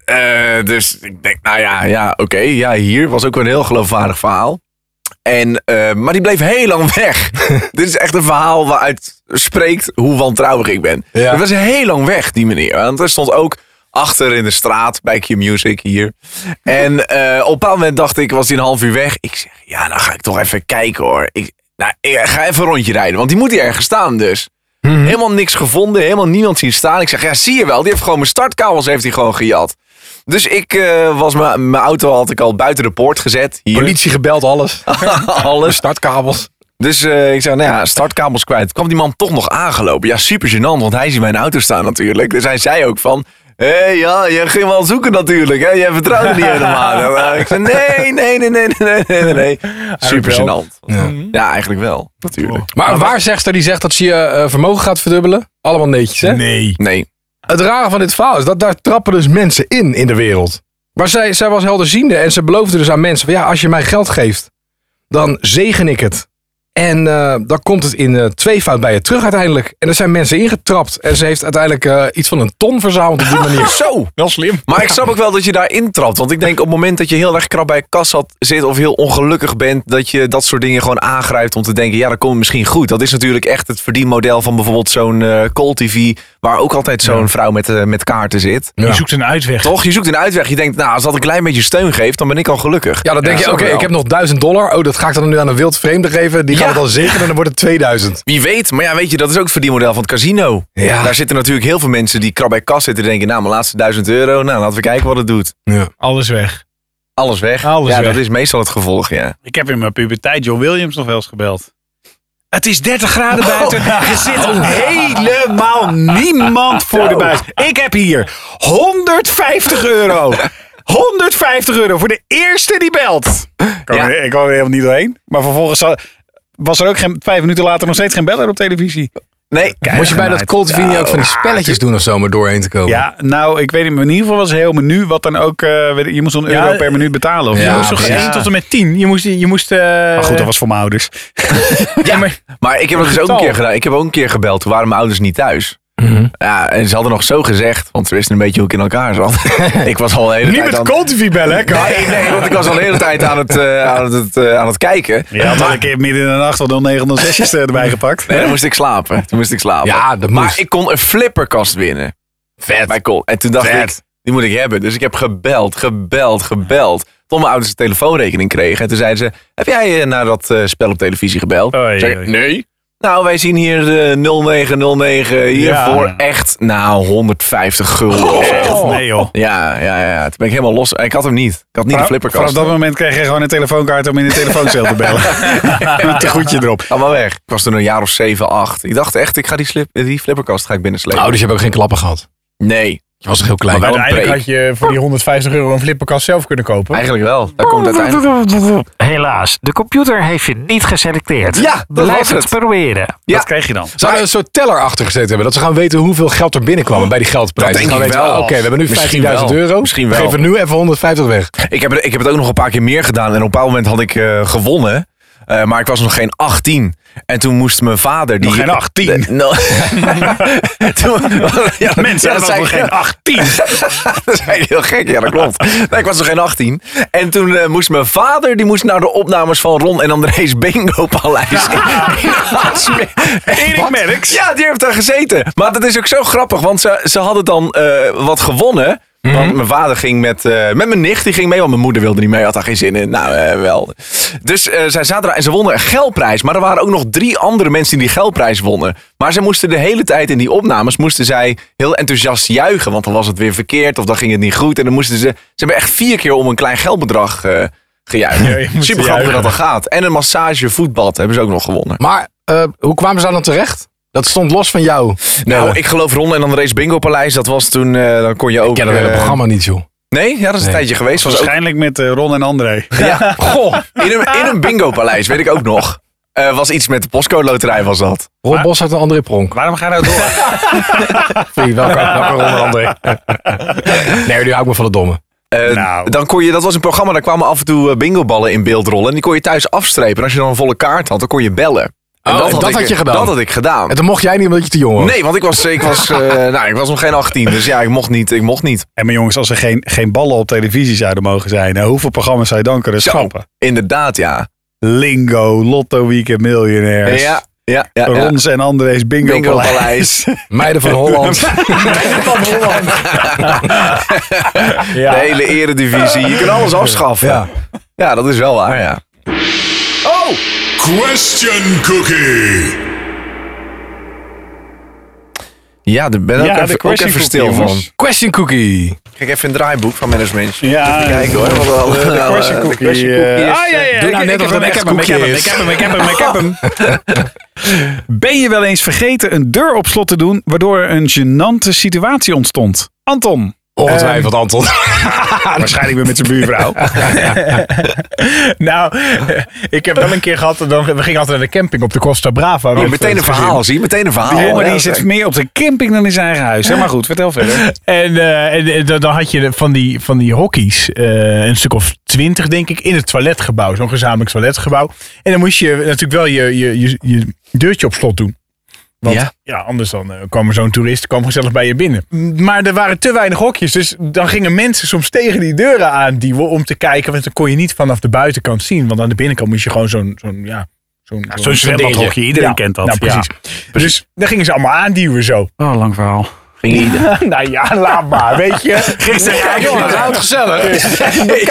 Speaker 5: Eh, dus ik denk, nou ja, ja oké. ja, hier was ook wel een heel geloofwaardig verhaal. En, eh, maar die bleef heel lang weg. Dit is echt een verhaal waaruit spreekt hoe wantrouwig ik ben.
Speaker 2: Ja.
Speaker 5: Dat was heel lang weg, die meneer. Want er stond ook achter in de straat bij Q-Music hier. En eh, op een bepaald moment dacht ik, was hij een half uur weg. Ik zeg, ja, nou ga ik toch even kijken hoor. Ik, nou, ik ga even een rondje rijden, want die moet hier ergens staan dus. Helemaal niks gevonden, helemaal niemand zien staan. Ik zeg, ja, zie je wel, die heeft gewoon mijn startkabels heeft hij gewoon gejat. Dus ik eh, was mijn mijn auto had ik al buiten de poort gezet. Hier.
Speaker 2: Politie gebeld, alles.
Speaker 5: Alles.
Speaker 2: Startkabels.
Speaker 5: Dus eh, ik zei, nou ja, startkabels kwijt. Kwam die man toch nog aangelopen? Ja, super gênant, want hij ziet mijn auto staan natuurlijk. Dus hij zei ook van, hé ja, jij ging wel zoeken natuurlijk. Hè? Jij vertrouwde niet helemaal. En, eh, ik zei, nee, nee, nee, nee, nee, nee, nee, nee. Super gênant. Ja. eigenlijk wel, natuurlijk.
Speaker 2: Maar een waarzegster die zegt dat ze je eh, vermogen gaat verdubbelen. Allemaal neetjes, hè?
Speaker 4: Nee.
Speaker 5: Nee.
Speaker 2: Het rare van dit verhaal is dat daar trappen dus mensen in in de wereld. Maar zij, zij was helderziende en ze beloofde dus aan mensen: van ja, als je mij geld geeft, dan zegen ik het. En eh, dan komt het in eh, tweevoud bij je terug uiteindelijk. En er zijn mensen ingetrapt. En ze heeft uiteindelijk eh, iets van een ton verzameld op die manier.
Speaker 5: Zo.
Speaker 4: Wel slim.
Speaker 5: Maar ik snap ook wel dat je daar intrapt. Want ik denk op het moment dat je heel erg krap bij kassa zit of heel ongelukkig bent, dat je dat soort dingen gewoon aangrijpt om te denken, ja, dat komt misschien goed. Dat is natuurlijk echt het verdienmodel van bijvoorbeeld zo'n eh Call TV, waar ook altijd zo'n vrouw met, eh, met kaarten zit.
Speaker 4: Je zoekt een uitweg.
Speaker 5: Toch? Je zoekt een uitweg. Je denkt, nou, als dat een klein beetje steun geeft, dan ben ik al gelukkig.
Speaker 2: Ja, dan denk
Speaker 5: Ja,
Speaker 2: je:
Speaker 5: snap
Speaker 2: oké,
Speaker 5: ik wel.
Speaker 2: ik heb nog 1000 dollar. Oh, dat ga ik dan nu aan een wild vreemde geven. Die
Speaker 5: Ja.
Speaker 2: gaat het dan zegen en dan wordt het 2000.
Speaker 5: Wie weet, maar ja, weet je, dat is ook het verdienmodel van het casino.
Speaker 2: Ja.
Speaker 5: Daar zitten natuurlijk heel veel mensen die krap bij kas zitten en denken, nou, mijn laatste duizend euro, nou, laten we kijken wat het doet.
Speaker 4: Alles weg.
Speaker 5: Alles weg.
Speaker 4: Alles
Speaker 5: ja,
Speaker 4: weg.
Speaker 5: dat is meestal het gevolg, ja.
Speaker 3: Ik heb in mijn puberteit John Williams nog wel eens gebeld. Oh. Het is 30 graden buiten. Er zit helemaal niemand voor de buis. Ik heb hier 150 euro. 150 euro voor de eerste die belt. Kan
Speaker 5: Ja.
Speaker 3: er- Ik kwam er helemaal niet doorheen. Maar vervolgens zal- was er ook geen, vijf minuten later nog steeds geen beller op televisie.
Speaker 5: Nee,
Speaker 2: Moet je bij dat Cold Vini ook van
Speaker 5: oh,
Speaker 2: die spelletjes doen of zo om er doorheen te komen?
Speaker 3: Ja, nou, ik weet niet. maar In ieder geval was het heel menu. Wat dan ook. eh, weet ik, je moest een
Speaker 4: Ja,
Speaker 3: euro per minuut betalen. Of
Speaker 2: ja,
Speaker 3: zo.
Speaker 4: je moest toch
Speaker 2: precies.
Speaker 4: één tot en met 10. Je moest... Je moest eh,
Speaker 3: Maar goed, dat was voor mijn ouders.
Speaker 4: ja, maar,
Speaker 5: Maar ik heb dat dus ook een
Speaker 4: Getal.
Speaker 5: keer gedaan. Ik heb ook een keer gebeld. Toen waren mijn ouders niet thuis.
Speaker 2: Mhm.
Speaker 5: Ja, en ze hadden nog zo gezegd, want ze wisten een beetje hoe ik in elkaar zat. ik was al de hele tijd aan...
Speaker 2: Cold bellen, hè?
Speaker 5: Nee, nee, want ik was al de hele tijd aan het, eh, aan het, eh, aan het kijken.
Speaker 3: Je had al een keer midden in de nacht al 0906 eh, erbij gepakt.
Speaker 5: Nee, dan moest ik slapen. Toen moest ik slapen.
Speaker 2: Ja, dat
Speaker 5: maar
Speaker 2: moest.
Speaker 5: ik kon een flipperkast winnen.
Speaker 2: Vet.
Speaker 5: Bij Col. En toen dacht
Speaker 2: Vet.
Speaker 5: ik, die moet ik hebben. Dus ik heb gebeld, gebeld, gebeld. Tot mijn ouders een telefoonrekening kregen. En toen zeiden ze, heb jij eh, naar dat eh, spel op televisie gebeld?
Speaker 2: Oh.
Speaker 3: Oei,
Speaker 5: Zeg ik,
Speaker 3: oei.
Speaker 5: nee. Nou, wij zien hier eh, 0909 hiervoor echt, nou, 150 gulden. of zo.
Speaker 6: Oh.
Speaker 3: Nee joh.
Speaker 5: Ja, ja, ja. Toen ben ik helemaal los. Ik had hem niet. Ik had niet de
Speaker 3: Vanaf
Speaker 5: flipperkast.
Speaker 3: dat moment kreeg je gewoon een telefoonkaart om in de telefooncel te bellen. Met een goedje erop.
Speaker 5: Allemaal weg. Ik was toen een jaar of 7, 8. Ik dacht echt, ik ga die, slip, die flipperkast ga ik binnenslepen.
Speaker 6: Oh.
Speaker 2: Ouders hebben dus ook geen klappen gehad.
Speaker 5: Nee.
Speaker 2: Je was toch heel klein.
Speaker 5: Maar wel-
Speaker 4: uiteindelijk
Speaker 5: break.
Speaker 4: had je voor die 150 euro een flipperkast zelf kunnen kopen.
Speaker 5: Eigenlijk wel. Daar komt het uiteindelijk.
Speaker 6: Helaas, de computer heeft je niet geselecteerd.
Speaker 5: Ja, dat
Speaker 6: Blijf
Speaker 5: was het.
Speaker 6: proberen.
Speaker 5: Ja.
Speaker 3: Dat kreeg je dan.
Speaker 2: Zou er een soort teller achter gezeten hebben? Dat ze gaan weten hoeveel geld er binnenkwam bij die geldprijs.
Speaker 5: Dat denk
Speaker 2: Ze gaan
Speaker 5: ik
Speaker 2: weten,
Speaker 5: wel.
Speaker 2: ah, Oké, we hebben nu
Speaker 5: Misschien
Speaker 2: 15.000
Speaker 5: wel.
Speaker 2: euro.
Speaker 5: Misschien
Speaker 2: We
Speaker 5: wel.
Speaker 2: geven nu even 150 weg.
Speaker 5: Ik heb, het- ik heb het ook nog een paar keer meer gedaan. En op een bepaald moment had ik eh, gewonnen. Eh, maar ik was nog geen 18. En toen moest mijn vader... Die,
Speaker 3: Nog geen 18?
Speaker 5: Eh, no- toen, ja,
Speaker 3: Mensen,
Speaker 5: ja,
Speaker 3: dat was nog geen 18.
Speaker 5: dat is eigenlijk heel gek, ja, dat klopt. Nee, ik was nog geen 18. En toen eh, moest mijn vader, die moest naar de opnames van Ron en André's Bingo Paleis.
Speaker 3: Erik Merks.
Speaker 5: ja, die heeft daar gezeten. Maar dat is ook zo grappig, want ze, ze hadden dan eh, wat gewonnen.
Speaker 4: Mhm.
Speaker 5: Want mijn vader ging met, eh, met mijn nicht, die ging mee, want mijn moeder wilde niet mee, had daar geen zin in. Nou, eh, wel. Dus eh, zij zaten daar en ze wonnen een geldprijs. Maar er waren ook nog drie andere mensen die die geldprijs wonnen. Maar ze moesten de hele tijd in die opnames, moesten zij heel enthousiast juichen. Want dan was het weer verkeerd of dan ging het niet goed. En dan moesten ze, ze hebben echt vier keer om een klein geldbedrag eh gejuicht.
Speaker 4: je moest
Speaker 5: Super grappig
Speaker 4: juichen.
Speaker 5: dat dat gaat. En een massage voetbad hebben ze ook nog gewonnen.
Speaker 2: Maar eh, hoe kwamen ze daar dan terecht? Dat stond los van jou.
Speaker 5: Nou, ik geloof Ron en dan race Bingo Paleis. Dat was toen, eh, dan kon je ook...
Speaker 2: ken dat hele
Speaker 5: eh,
Speaker 2: programma niet, joh.
Speaker 5: Nee, ja, dat is een tijdje geweest. Was ook,
Speaker 3: Waarschijnlijk met eh, Ron en André.
Speaker 5: ja, goh, in een, in een Bingo Paleis, weet ik ook nog. Eh, was iets met de postcode loterij was dat.
Speaker 2: Rob Bos had een andere pronk.
Speaker 3: Waarom ga je nou door?
Speaker 2: Welke, welke onder andere? Nee, nu hou ik me van de domme.
Speaker 5: Eh,
Speaker 3: Nou.
Speaker 5: Dan kon je, dat was een programma, daar kwamen af en toe eh, bingoballen in beeld rollen. En die kon je thuis afstrepen. En als je dan een volle kaart had, dan kon je bellen. En
Speaker 2: Oh, en dat
Speaker 5: ik-
Speaker 2: had je gedaan?
Speaker 5: Dat had ik gedaan.
Speaker 2: En toen mocht jij niet omdat je te jong was.
Speaker 5: Nee, want ik was, ik, was, eh, nou, ik was nog geen 18, dus ja, ik mocht niet. Ik mocht niet.
Speaker 3: En maar jongens, als er geen, geen ballen op televisie zouden mogen zijn, hè, hoeveel programma's zou je dan kunnen schrappen?
Speaker 5: Inderdaad, ja.
Speaker 3: Lingo, Lotto Weekend
Speaker 2: Dus
Speaker 3: Miljonairs.
Speaker 5: Ja, ja, ja. ja.
Speaker 3: Rons en André's Bingo,
Speaker 5: Bingo
Speaker 3: Paleis.
Speaker 5: Paleis.
Speaker 2: Meiden van Holland.
Speaker 5: De hele eredivisie. Je kunt alles afschaffen. Ja. dat is wel waar, ja. Oh!
Speaker 7: Question Cookie.
Speaker 5: Ja, daar ben ik
Speaker 3: Ja,
Speaker 5: ook
Speaker 3: de
Speaker 5: even, ook
Speaker 3: question cookie,
Speaker 5: even stil van.
Speaker 3: jongens.
Speaker 2: Question cookie.
Speaker 5: Kijk even een draaiboek van management.
Speaker 3: Ja,
Speaker 5: Kijk hoor. wat wel, eh, wel, eh,
Speaker 3: question
Speaker 5: de
Speaker 3: cookie,
Speaker 5: question
Speaker 3: eh,
Speaker 5: cookie is,
Speaker 3: ah, ja, ja,
Speaker 5: eh,
Speaker 3: ja,
Speaker 5: doe
Speaker 3: ik-
Speaker 5: nou
Speaker 3: ik
Speaker 5: net
Speaker 3: heb
Speaker 5: of
Speaker 3: hem,
Speaker 5: het
Speaker 3: ik
Speaker 5: echt
Speaker 3: heb hem, ik
Speaker 5: cookie
Speaker 3: heb hem,
Speaker 5: is.
Speaker 3: ik heb hem, ik heb hem, ik heb hem. Ben je wel eens vergeten een deur op slot te doen, waardoor er een gênante situatie ontstond? Anton.
Speaker 2: Ongetwijfeld,
Speaker 5: Ehm.
Speaker 2: Anton.
Speaker 3: Waarschijnlijk weer met zijn buurvrouw.
Speaker 4: Nou, ik heb wel een keer gehad, dan, we gingen altijd naar de camping op de Costa Brava. eh,
Speaker 5: Hier, Oh, meteen een verhaal, zie. Meteen een verhaal. Nou,
Speaker 3: Die jongen
Speaker 5: Oh, Ja,
Speaker 3: die zit
Speaker 5: oké.
Speaker 3: meer op de camping dan in zijn eigen huis. hè? Maar goed, vertel verder.
Speaker 4: En, eh, en, en dan- dan had je van die, van die hokkies, eh, een stuk of twintig denk ik, in het toiletgebouw. Zo'n gezamenlijk toiletgebouw. En dan moest je natuurlijk wel je, je, je, je deurtje op slot doen. Want
Speaker 5: Ja.
Speaker 4: ja, anders dan eh, kwam er zo'n toerist, kwam gezellig bij je binnen. M, Maar er waren te weinig hokjes, dus dan gingen mensen soms tegen die deuren aanduwen om te kijken. Want dan kon je niet vanaf de buitenkant zien, want aan de binnenkant moest je gewoon zo'n... zo'n ja, Zo'n zo'n
Speaker 3: zwembadhokje,
Speaker 4: dingetje.
Speaker 3: iedereen kent dat,
Speaker 4: Nou,
Speaker 3: ja.
Speaker 4: precies. Dus dan gingen ze allemaal aanduwen zo.
Speaker 3: Oh, lang verhaal.
Speaker 5: Ging ieder.
Speaker 4: nou ja, laat maar, weet je.
Speaker 2: Jongen, dat houdt gezellig.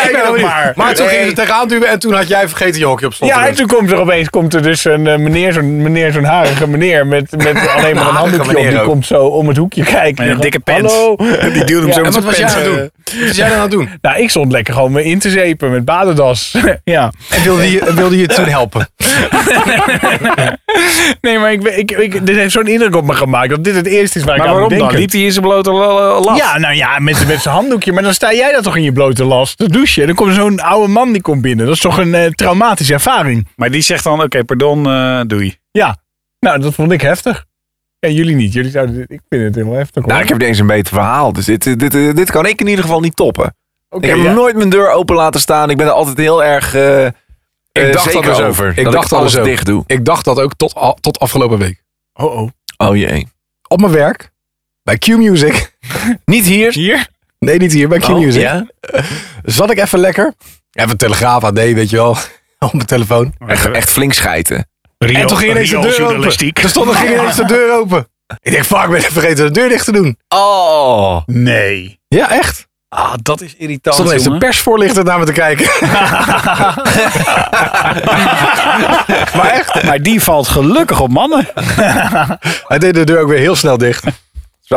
Speaker 4: Kijk nou maar.
Speaker 2: Maar toen gingen ze tegenaan duwen en toen had jij vergeten je hokje op slot. te
Speaker 4: Ja, en
Speaker 2: doen.
Speaker 4: toen komt er opeens komt er dus een eh, meneer, zo'n meneer, zo'n harige meneer met, met alleen maar een handdoekje op.
Speaker 5: meneer
Speaker 4: Die
Speaker 5: ook.
Speaker 4: komt zo om het hoekje kijken.
Speaker 3: Met een dikke pens.
Speaker 4: Hallo.
Speaker 3: Die duwde hem zo met
Speaker 2: En wat
Speaker 3: zijn
Speaker 2: was jij
Speaker 3: pens.
Speaker 2: aan het doen? Wat was jij dan aan het doen?
Speaker 4: Nou, ik stond lekker gewoon me in te zepen met badendas. ja.
Speaker 2: En wilde je, wilde je toen helpen?
Speaker 4: Nee, maar ik, ben- ik, ik, dit heeft zo'n indruk op me gemaakt dat dit het eerste is waar
Speaker 3: Maar
Speaker 4: ik aan
Speaker 3: waarom
Speaker 4: moet
Speaker 3: dan?
Speaker 4: denken.
Speaker 3: Liep hij in zijn blote la- lap?
Speaker 4: Ja, nou ja, met, met zijn handdoekje. Maar dan sta jij daar toch in je blote last te douchen. En dan komt zo'n oude man die komt binnen. Dat is toch een eh, traumatische ervaring.
Speaker 3: Maar die zegt dan, oké, pardon, eh, doei.
Speaker 4: Ja. Nou, dat vond ik heftig. Ja, jullie niet. Jullie zouden, dit- ik vind het heel heftig. Hoor.
Speaker 5: Nou, ik heb niet eens een beter verhaal. Dus dit, dit, dit, dit kan ik in ieder geval niet toppen.
Speaker 4: Oké,
Speaker 5: ik heb
Speaker 4: ja.
Speaker 5: nooit mijn deur open laten staan. Ik ben er altijd heel erg eh, eh, zeker
Speaker 2: dus ook.
Speaker 5: over.
Speaker 2: Ik
Speaker 5: dat
Speaker 2: dacht
Speaker 5: ik
Speaker 2: dat
Speaker 5: alles
Speaker 2: dus ook.
Speaker 5: dicht doe.
Speaker 2: Ik dacht dat ook tot, al- tot afgelopen week.
Speaker 4: Oh, oh.
Speaker 5: Oh jee.
Speaker 2: Op mijn werk, bij Q-Music.
Speaker 5: Niet hier.
Speaker 4: Hier?
Speaker 2: Nee, niet hier, bij Q-Music.
Speaker 5: Oh, ja?
Speaker 2: Zat ik even lekker. Even Telegraaf AD, weet je wel. Op mijn telefoon.
Speaker 5: Echt, echt flink schijten.
Speaker 2: en toen ging ineens de deur open. Er stond er ging ineens de deur open. Ik denk, fuck, ik ben even vergeten de deur dicht te doen.
Speaker 5: Oh.
Speaker 3: Nee.
Speaker 2: Ja, echt.
Speaker 3: Ah, dat is
Speaker 2: Er
Speaker 3: irritant,
Speaker 2: stond ineens een
Speaker 3: jongen.
Speaker 2: persvoorlichter naar me te kijken. maar echt.
Speaker 3: Maar die valt gelukkig op mannen.
Speaker 2: Hij deed de deur ook weer heel snel dicht.
Speaker 5: Wel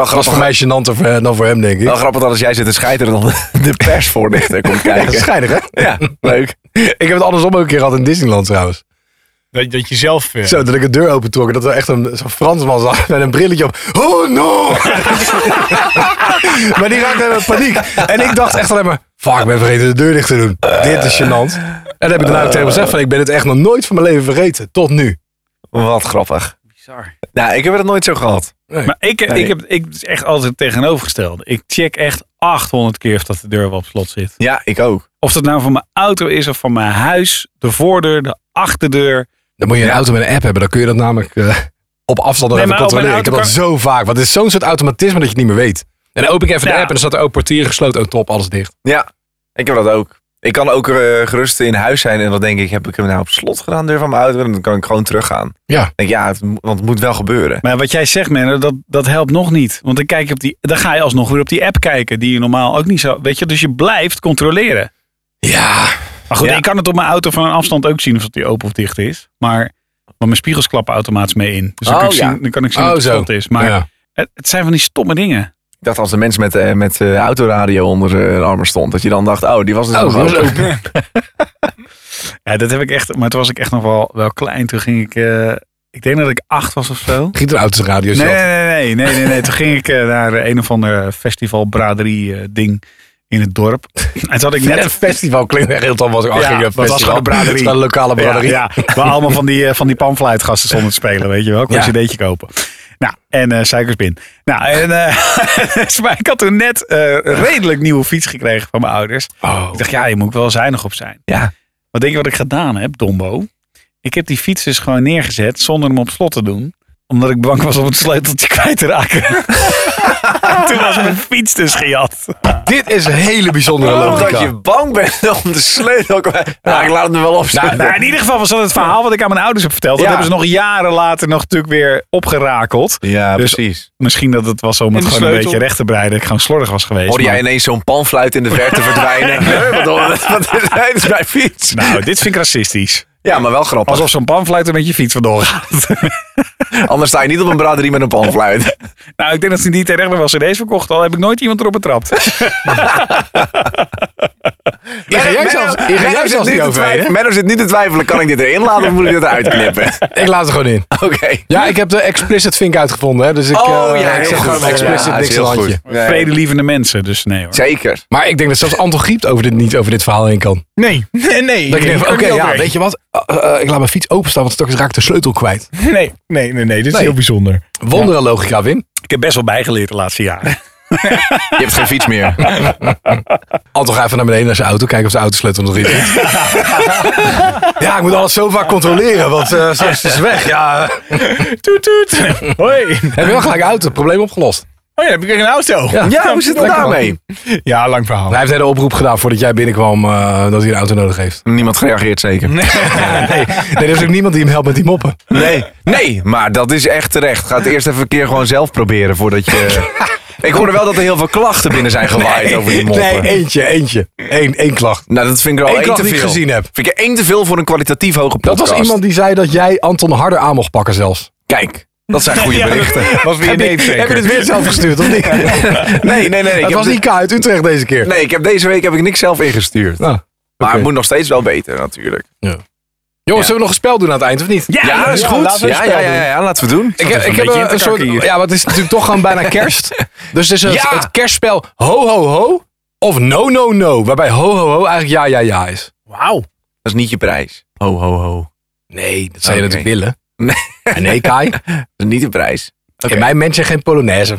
Speaker 2: Dat was voor mij
Speaker 5: grappig,
Speaker 2: gênanter voor- dan voor hem, denk ik.
Speaker 5: wel grappig dat als jij zit te schijten dan de persvoorlichter komt
Speaker 2: Dat is
Speaker 5: kijken.
Speaker 2: schijnig, hè?
Speaker 5: Ja, leuk.
Speaker 2: Ik heb het andersom ook een keer gehad in Disneyland trouwens.
Speaker 4: Dat, dat je zelf... eh,
Speaker 2: Zo, dat ik de deur open trok en dat er echt een zo'n Fransman zag met een brilletje op. Oh no! maar die raakte helemaal in paniek. En ik dacht echt alleen maar, fuck, ik ben vergeten de deur dicht te doen. Dit is gênant. En dan heb ik daarna ook tegen hem gezegd van, ik ben het echt nog nooit van mijn leven vergeten. Tot nu.
Speaker 5: Wat grappig.
Speaker 3: Bizar.
Speaker 5: Nou, ik heb het nooit zo gehad.
Speaker 3: Maar ik, heb-
Speaker 5: Nee.
Speaker 3: ik heb ik is echt altijd het tegenovergestelde. Ik check echt 800 keer of dat de deur wel op slot zit.
Speaker 5: Ja, ik ook.
Speaker 3: Of dat nou van mijn auto is of van mijn huis, de voordeur, de achterdeur.
Speaker 2: Dan moet je een auto met een app hebben. Dan kun je dat namelijk eh, op afstand nog
Speaker 3: Nee,
Speaker 2: even
Speaker 3: maar op mijn
Speaker 2: controleren. Ik heb dat zo vaak. Want het is zo'n soort automatisme dat je het niet meer weet. En dan open ik even de
Speaker 3: Ja.
Speaker 2: app en dan staat er ook portier gesloten. Oh top, alles dicht.
Speaker 5: Ja, ik heb dat ook. Ik kan ook eh, gerust in huis zijn en dan denk ik, heb ik hem nou op slot gedaan, deur van mijn auto? En dan kan ik gewoon teruggaan.
Speaker 2: Ja.
Speaker 5: Ik Denk, ja, het, mo- want het moet wel gebeuren.
Speaker 3: Maar wat jij zegt, Menno, dat, dat helpt nog niet. Want dan, kijk je op die, dan ga je alsnog weer op die app kijken, die je normaal ook niet zou... Weet je, dus je blijft controleren.
Speaker 2: Ja,
Speaker 3: Maar goed,
Speaker 5: Ja.
Speaker 3: ik kan het op mijn auto van een afstand ook zien of die open of dicht is. Maar, want mijn spiegels klappen automatisch mee in. Dus dan, kan,
Speaker 5: Oh,
Speaker 3: ik
Speaker 5: ja.
Speaker 3: zien, dan kan ik zien
Speaker 2: Oh,
Speaker 3: of het
Speaker 2: zo.
Speaker 3: slot is. Maar
Speaker 2: Ja.
Speaker 3: het, het zijn van die stomme dingen.
Speaker 5: Ik dacht als de mens met, eh, met eh, autoradio onder eh, de armen stond, dat je dan dacht, oh, die was dus
Speaker 2: Oh,
Speaker 5: nog
Speaker 2: dat was
Speaker 5: open.
Speaker 2: open.
Speaker 3: Ja, dat heb ik echt... Maar toen was ik echt nog wel, wel klein. Toen ging ik... eh, ik denk dat ik acht was of zo.
Speaker 2: Giet er auto's radio
Speaker 3: Nee, nee, nee, nee, nee, nee. Toen ging ik eh, naar eh, een of ander festival braderie eh, ding in het dorp. En toen had ik
Speaker 2: Net een
Speaker 3: net...
Speaker 2: festival klinkt echt heel tof. Was ik
Speaker 3: Ja,
Speaker 2: afging,
Speaker 3: dat was
Speaker 2: festival.
Speaker 3: gewoon een braderie.
Speaker 2: Het is gewoon een lokale
Speaker 3: Ja,
Speaker 2: braderie.
Speaker 3: ja, waar allemaal van die, eh, van die pamfluitgasten stonden te spelen, weet je wel. Ik kon
Speaker 2: Ja.
Speaker 3: een cd'tje kopen. Nou, en eh suikersbin. Nou, en, eh, dus, maar ik had toen net eh, een redelijk nieuwe fiets gekregen van mijn ouders. Ik dacht, ja, je moet wel zuinig op zijn.
Speaker 5: Oh. Ja.
Speaker 3: Wat denk je wat ik gedaan heb, Dombo? Ik heb die fiets dus gewoon neergezet zonder hem op slot te doen. Omdat ik bang was om het sleuteltje kwijt te raken. Toen was mijn fiets dus gejat.
Speaker 2: Dit is een hele
Speaker 3: Oh,
Speaker 2: bijzondere
Speaker 5: Omdat
Speaker 2: logica.
Speaker 5: je bang bent om de sleutel. Nou, ik laat hem er wel op zitten.
Speaker 3: Nou, in ieder geval was dat het verhaal wat ik aan mijn ouders heb verteld. Dat
Speaker 5: Ja.
Speaker 3: hebben ze nog jaren later nog natuurlijk weer opgerakeld.
Speaker 5: ja,
Speaker 3: dus-
Speaker 5: precies.
Speaker 3: Misschien dat het was om
Speaker 5: En
Speaker 3: het
Speaker 5: de
Speaker 3: gewoon een
Speaker 5: sleutel?
Speaker 3: beetje recht te breiden. Dat ik gewoon slordig was geweest.
Speaker 5: Hoorde jij
Speaker 3: maar-
Speaker 5: ineens zo'n panfluit in de verte verdwijnen? Hè, wat, wat is hij? Het is mijn fiets?
Speaker 3: Nou, dit vind ik racistisch.
Speaker 5: Ja, maar wel grappig.
Speaker 3: Alsof zo'n panfluit er met je fiets vandoor gaat.
Speaker 5: Anders sta je niet op een braderie met een panfluit.
Speaker 3: nou, ik denk dat ze in die tijd echt nog wel cd's verkocht. Al heb ik nooit iemand erop betrapt.
Speaker 2: Hier ga jij zelfs, hier ga jij zelfs
Speaker 5: zit
Speaker 2: niet
Speaker 5: niet te
Speaker 2: overheen.
Speaker 5: twijfelen. Menno zit niet te twijfelen. Kan ik dit erin laten of moet ik dit eruit knippen?
Speaker 2: hè? Ik laat het gewoon in.
Speaker 5: Oké.
Speaker 2: Ja, ik heb de explicit vink uitgevonden. Hè, dus
Speaker 3: Oh,
Speaker 2: ik, eh, ik zeg
Speaker 5: heel
Speaker 2: gewoon
Speaker 5: goed.
Speaker 2: explicit
Speaker 5: Ja, het is
Speaker 2: niks aan
Speaker 5: heel
Speaker 2: het handje.
Speaker 5: goed. Nee.
Speaker 3: Vredelievende mensen, dus nee hoor.
Speaker 5: Zeker.
Speaker 2: Maar ik denk dat zelfs Anton Griep over dit, niet over dit verhaal heen kan.
Speaker 4: Nee, nee, nee.
Speaker 2: Dat ik denk,
Speaker 4: Ik
Speaker 2: van,
Speaker 4: kan
Speaker 2: oké,
Speaker 4: niet
Speaker 2: ja,
Speaker 4: overheen.
Speaker 2: weet je wat? Eh, eh, ik laat mijn fiets openstaan, want straks raak ik de sleutel kwijt.
Speaker 4: Nee, nee, nee, nee. Dit is
Speaker 2: Nee.
Speaker 4: heel bijzonder.
Speaker 2: Wondere logica, Wim.
Speaker 3: Ik heb best wel bijgeleerd de laatste jaren.
Speaker 5: Je hebt geen fiets meer.
Speaker 2: Anton, ga even naar beneden naar zijn auto. Kijken of zijn autosleutel nog erin zit. ja, ik moet alles zo vaak controleren, want eh, straks is het weg. Ja. eh.
Speaker 4: Toet, toet. Hoi.
Speaker 2: Heb je wel gelijk auto, het probleem opgelost.
Speaker 4: Oh ja, heb ik weer een auto?
Speaker 2: Ja.
Speaker 5: Ja, hoe zit het nou?
Speaker 2: Lekker
Speaker 5: daarmee?
Speaker 4: Ja, lang verhaal.
Speaker 2: Hij heeft een hele oproep gedaan voordat jij binnenkwam eh, dat hij een auto nodig heeft.
Speaker 5: Niemand gereageerd zeker.
Speaker 2: Nee, er is ook niemand die hem helpt met die moppen.
Speaker 5: Nee, maar dat is echt terecht. Ga het eerst even een keer gewoon zelf proberen voordat je... Ik hoorde wel dat er heel veel klachten binnen zijn gewaaid over die
Speaker 2: Nee,
Speaker 5: moppen.
Speaker 2: eentje, eentje. Eén, één klacht.
Speaker 5: Nou, dat vind ik
Speaker 2: Eén
Speaker 5: wel één
Speaker 2: klacht
Speaker 5: te
Speaker 2: die ik
Speaker 5: veel.
Speaker 2: gezien heb.
Speaker 5: Vind ik één te veel voor een kwalitatief hoge
Speaker 2: Dat
Speaker 5: podcast.
Speaker 2: was iemand die zei dat jij Anton harder aan mocht pakken zelfs.
Speaker 5: Kijk, dat zijn goede berichten.
Speaker 4: Was weer een
Speaker 5: ik-
Speaker 2: Heb je het weer zelf gestuurd of niet?
Speaker 5: Nee, nee, nee. ik
Speaker 2: Het
Speaker 5: heb
Speaker 2: was
Speaker 5: de-
Speaker 2: niet K uit Utrecht deze keer.
Speaker 5: Nee, ik heb deze week heb ik niks zelf ingestuurd.
Speaker 2: Nou,
Speaker 5: Maar
Speaker 2: oké.
Speaker 5: het moet nog steeds wel beter natuurlijk.
Speaker 2: Jongens, zullen we nog een spel doen aan het eind of niet?
Speaker 5: Ja, dat is goed.
Speaker 4: laten we
Speaker 5: ja,
Speaker 4: een
Speaker 5: ja,
Speaker 4: spel
Speaker 5: ja, ja, laten we doen.
Speaker 2: Ik heb, ik heb
Speaker 3: beetje in
Speaker 2: een,
Speaker 3: te
Speaker 2: soort.
Speaker 3: kakken hier.
Speaker 2: Ja, want het is natuurlijk toch gewoon bijna kerst. Dus het is het,
Speaker 5: Ja!
Speaker 2: het kerstspel ho ho ho of no no no. Waarbij ho ho ho eigenlijk ja ja ja is.
Speaker 4: Wauw.
Speaker 5: Dat is niet je prijs. Ho, ho, ho.
Speaker 2: Nee, dat zou je
Speaker 5: Oké.
Speaker 2: natuurlijk willen.
Speaker 5: Nee.
Speaker 2: En nee, Kai.
Speaker 5: Dat is niet de prijs.
Speaker 2: In mijn mensen geen Polonaise.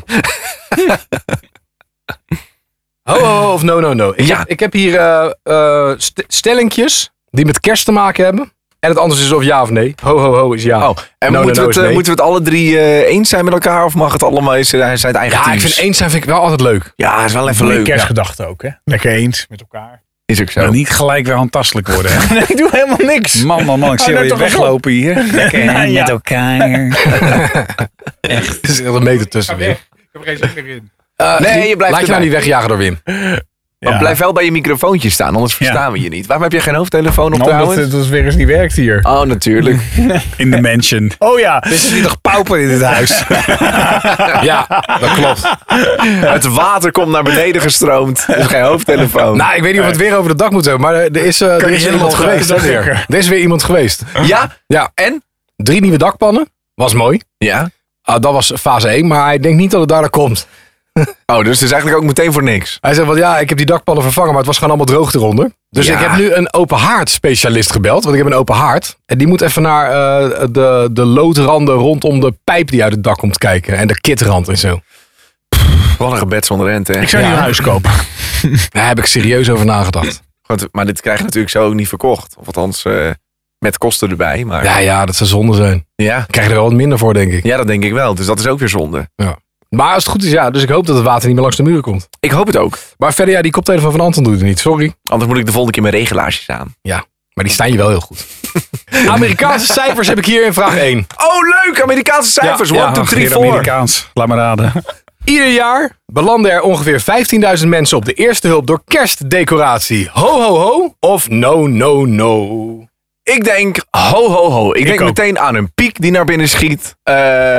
Speaker 2: ho, ho, ho, of no, no, no. Ik,
Speaker 5: Ja.
Speaker 2: heb, ik heb hier eh eh, st- stellingjes die met kerst te maken hebben. En het anders is of ja of nee. Ho, ho, ho is ja.
Speaker 5: Oh, en
Speaker 2: No, no,
Speaker 5: moeten,
Speaker 2: no
Speaker 5: we
Speaker 2: is
Speaker 5: het, eh,
Speaker 2: nee.
Speaker 5: moeten we het alle drie eh, eens zijn met elkaar? Of mag het allemaal eens eh, zijn eigen
Speaker 2: ja, ik
Speaker 5: teams?
Speaker 2: vind eens zijn vind ik wel altijd leuk.
Speaker 5: Ja, is wel even
Speaker 4: Leuk.
Speaker 5: leuk. Ja,
Speaker 4: Kerstgedachte ook, hè? Lekker eens met elkaar.
Speaker 5: is ook zo.
Speaker 3: Nou, niet gelijk weer handtastelijk worden. hè.
Speaker 4: Nee, ik doe helemaal niks.
Speaker 3: Man, man, man, ik zie
Speaker 4: Oh,
Speaker 3: al
Speaker 4: nou,
Speaker 3: je
Speaker 4: toch wel.
Speaker 3: weglopen hier. Lekker hè,
Speaker 4: Ja.
Speaker 3: met elkaar.
Speaker 2: Er is echt een meter tussen weer.
Speaker 3: Ik heb geen zin meer in.
Speaker 2: Eh,
Speaker 5: Nee,
Speaker 2: Guy,
Speaker 5: Ah, je blijft
Speaker 2: Laat je
Speaker 5: erbij.
Speaker 2: nou niet wegjagen door Wim.
Speaker 5: Maar blijf wel bij je microfoontje staan, anders verstaan we je niet. Waarom heb je geen hoofdtelefoon op
Speaker 4: Omdat
Speaker 5: trouwens?
Speaker 4: het dus weer eens niet werkt hier.
Speaker 5: Oh, natuurlijk.
Speaker 3: In de mansion.
Speaker 4: Oh ja.
Speaker 3: Er zit hier nog pauper in dit huis.
Speaker 2: Ja, dat klopt.
Speaker 5: het water komt naar beneden gestroomd. Dus geen hoofdtelefoon.
Speaker 2: Nou, ik weet niet of we het weer over de dag moeten hebben. Maar er er is, eh, er
Speaker 4: je
Speaker 2: is weer
Speaker 4: helemaal
Speaker 2: iemand geweest.
Speaker 4: gaan,
Speaker 2: hè, weer.
Speaker 4: zeker.
Speaker 2: Er is weer iemand geweest.
Speaker 5: ja?
Speaker 2: Ja.
Speaker 5: En?
Speaker 2: Drie nieuwe dakpannen. Was mooi.
Speaker 5: Ja.
Speaker 2: Ah, dat was fase 1, maar ik denk niet dat het daarna komt.
Speaker 5: Oh, dus het is eigenlijk ook meteen voor niks.
Speaker 2: Hij zei van ja, ik heb die dakpannen vervangen, maar het was gewoon allemaal droog eronder. Dus
Speaker 5: Ja.
Speaker 2: ik heb nu een open haard specialist gebeld, want ik heb een open haard. En die moet even naar eh, de, de loodranden rondom de pijp die uit het dak komt kijken. En de kitrand en zo.
Speaker 5: Wat een gebed zonder rente, hè?
Speaker 4: Ik zou
Speaker 2: Ja.
Speaker 4: niet een huis kopen.
Speaker 2: Daar heb ik serieus over nagedacht.
Speaker 5: Want- maar dit krijg je natuurlijk zo ook niet verkocht. Of althans, eh, met kosten erbij. Maar
Speaker 2: Ja, ja, dat zou zonde zijn.
Speaker 5: ja.
Speaker 2: Ik krijg er wel wat minder voor, denk ik.
Speaker 5: Ja, dat denk ik wel. Dus dat is ook weer zonde.
Speaker 2: Maar als het goed is, ja. Dus ik hoop dat het water niet meer langs de muren komt.
Speaker 5: Ik hoop het ook.
Speaker 2: Maar verder, ja, die koptelefoon van Anton doet het niet. Sorry.
Speaker 5: Anders moet ik de volgende keer mijn regelaarsjes aan.
Speaker 2: Maar die staan je wel heel goed. Amerikaanse cijfers heb ik hier in vraag 1.
Speaker 5: Oh, leuk! Amerikaanse cijfers.
Speaker 2: Ja, ja,
Speaker 5: 1, 2, 3,
Speaker 3: Weer
Speaker 5: 4.
Speaker 3: Amerikaans. Laat maar raden.
Speaker 2: Ieder jaar belanden er ongeveer 15.000 mensen op de eerste hulp door kerstdecoratie. Ho ho ho of no no no.
Speaker 5: Ik denk, ho, ho, ho. Ik, denk
Speaker 4: ook.
Speaker 5: meteen aan een piek die naar binnen schiet. Eh,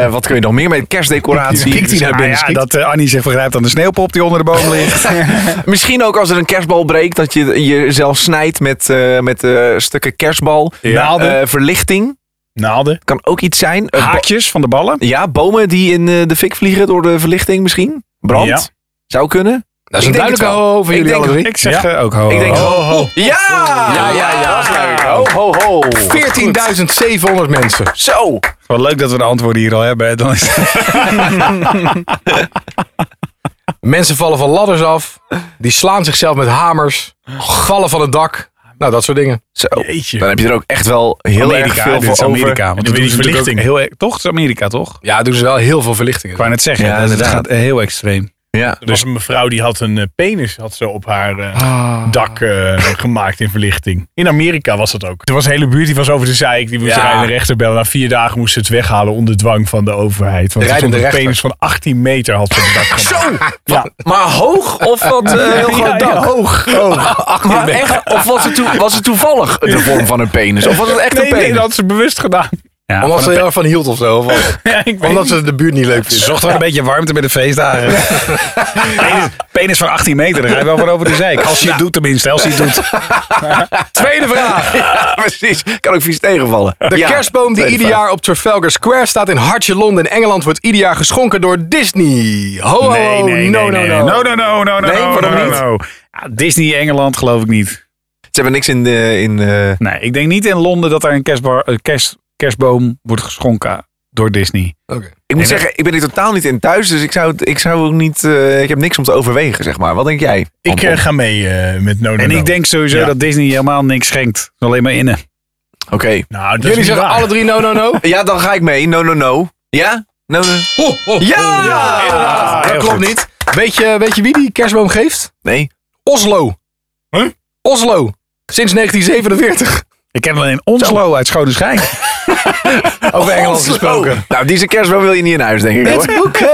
Speaker 5: wat kun je nog meer met kerstdecoratie?
Speaker 2: Piek die naar
Speaker 3: Ah,
Speaker 2: binnen
Speaker 3: ja,
Speaker 2: schiet.
Speaker 3: dat eh, Annie zich vergrijpt aan de sneeuwpop die onder de boom ligt.
Speaker 5: Misschien ook als er een kerstbal breekt, dat je jezelf snijdt met, eh, met eh, stukken kerstbal.
Speaker 4: Naalden.
Speaker 5: Eh, verlichting
Speaker 4: Naalden.
Speaker 5: kan ook iets zijn. Eh, bo-
Speaker 3: Haakjes van de ballen.
Speaker 5: ja, bomen die in eh, de fik vliegen door de verlichting misschien. Brand.
Speaker 4: Ja.
Speaker 5: Zou kunnen.
Speaker 2: Dat is
Speaker 5: Ik
Speaker 2: een
Speaker 5: denk het
Speaker 2: duidelijke
Speaker 5: wel.
Speaker 2: ho ho voor
Speaker 5: Ik
Speaker 2: jullie
Speaker 5: denk-
Speaker 2: alle drie.
Speaker 3: Ik zeg eh, ook ho.
Speaker 5: Ik denk,
Speaker 3: ho.
Speaker 5: ho,
Speaker 4: ho.
Speaker 5: Ja!
Speaker 2: Ja, ja, ja, dat is leuk.
Speaker 5: Ho, ho, ho.
Speaker 2: 14.700 mensen.
Speaker 5: Zo.
Speaker 3: Wel leuk dat we de antwoorden hier al hebben. Dan is
Speaker 2: Mensen vallen van ladders af. Die slaan zichzelf met hamers. Vallen van het dak. Nou, dat soort dingen.
Speaker 5: Zo.
Speaker 4: Jeetje.
Speaker 5: Dan heb je er ook echt wel heel erg
Speaker 3: Amerika,
Speaker 5: veel
Speaker 3: dit is
Speaker 5: voor over.
Speaker 3: Amerika. Want
Speaker 4: En die
Speaker 3: dat doen ze natuurlijk ook
Speaker 4: verlichting.
Speaker 3: heel, e- toch? Het is Amerika, toch?
Speaker 2: Ja, doen ze wel heel veel verlichtingen.
Speaker 3: Ik wou net zeggen,
Speaker 5: Ja,
Speaker 3: dat het
Speaker 5: inderdaad.
Speaker 3: gaat eh, heel extreem.
Speaker 5: Ja.
Speaker 4: Er was een mevrouw die had een eh, penis had ze op haar eh, dak eh, gemaakt in verlichting. In Amerika was dat ook. Er was een hele buurt die was over de zeik. Die moest
Speaker 2: Ja.
Speaker 4: rijden rechter bellen. Na vier dagen moesten ze het weghalen onder dwang van de overheid. Want
Speaker 2: De
Speaker 4: ze
Speaker 2: rijdende
Speaker 4: stond een
Speaker 2: rechter.
Speaker 4: penis van 18 meter had ze op het dak gemaakt.
Speaker 5: Maar- Maar hoog of wat eh, heel groot
Speaker 4: Ja, ja,
Speaker 5: dak?
Speaker 4: hoog. hoog.
Speaker 5: Maar echt, of was het, toe- was het toevallig de vorm van een penis? Of was het echt een
Speaker 4: Nee,
Speaker 5: penis?
Speaker 4: nee, dat had ze bewust gedaan.
Speaker 3: Ja,
Speaker 2: Omdat
Speaker 3: van
Speaker 2: ze
Speaker 3: een
Speaker 2: er heel erg van hield of zo. Of wat?
Speaker 4: Ja, ik weet
Speaker 2: Omdat
Speaker 4: niet.
Speaker 2: ze de buurt niet leuk
Speaker 3: pe-
Speaker 2: vinden.
Speaker 3: Zocht wel een beetje warmte bij de feestdagen. penis, penis van 18 meter, daar ga je wel voor over de zeik. Als je het doet tenminste, als je het doet.
Speaker 2: Tweede vraag.
Speaker 5: Ja, precies. Kan ook vies tegenvallen.
Speaker 2: De
Speaker 5: Ja.
Speaker 2: kerstboom die
Speaker 5: Tweede
Speaker 2: ieder
Speaker 5: vraag.
Speaker 2: jaar op Trafalgar Square staat in hartje Londen in Engeland wordt ieder jaar geschonken door Disney. Ho,
Speaker 4: Oh,
Speaker 2: ho, ho, no, no, no.
Speaker 3: No, no, no, no, no,
Speaker 5: Nee,
Speaker 3: no,
Speaker 5: waarom
Speaker 3: no,
Speaker 5: niet?
Speaker 3: no. Ja, Disney Engeland geloof ik niet.
Speaker 5: Ze hebben niks in de... In, eh,
Speaker 3: Nee, ik denk niet in Londen dat er een kerstbar, eh, kerst, kerstboom wordt geschonken door Disney.
Speaker 2: Oké.
Speaker 5: ik moet zeggen, ik ben er totaal niet in thuis. Dus ik zou, het- ik zou ook niet... eh, ik heb niks om te overwegen, zeg maar. Wat denk jij?
Speaker 4: Ik
Speaker 5: Anton?
Speaker 4: eh, ga mee eh, met No No
Speaker 3: En
Speaker 4: No.
Speaker 3: ik denk sowieso
Speaker 4: Ja.
Speaker 3: dat Disney helemaal niks schenkt. Alleen maar innen.
Speaker 5: Oké.
Speaker 4: Nou, dat
Speaker 2: Jullie
Speaker 4: is niet
Speaker 2: zeggen
Speaker 4: waar.
Speaker 2: alle drie no, no, no.
Speaker 5: Ja, dan ga ik mee. No, no, no. Ja? No, no.
Speaker 2: Oh, nou,
Speaker 5: Ja!
Speaker 2: inderdaad.
Speaker 3: heel
Speaker 2: Dat klopt
Speaker 3: goed.
Speaker 2: niet. Weet je, weet je wie die kerstboom geeft?
Speaker 5: Nee.
Speaker 2: Oslo.
Speaker 4: Huh?
Speaker 2: Oslo. Sinds 1947.
Speaker 3: Ik ken alleen Onslo uit Schoudenschijn.
Speaker 2: Over Engeland
Speaker 5: Oslo.
Speaker 2: gesproken.
Speaker 5: Nou, die zijn kerstboom wil je niet in huis, denk ik. hoor.
Speaker 2: Oké.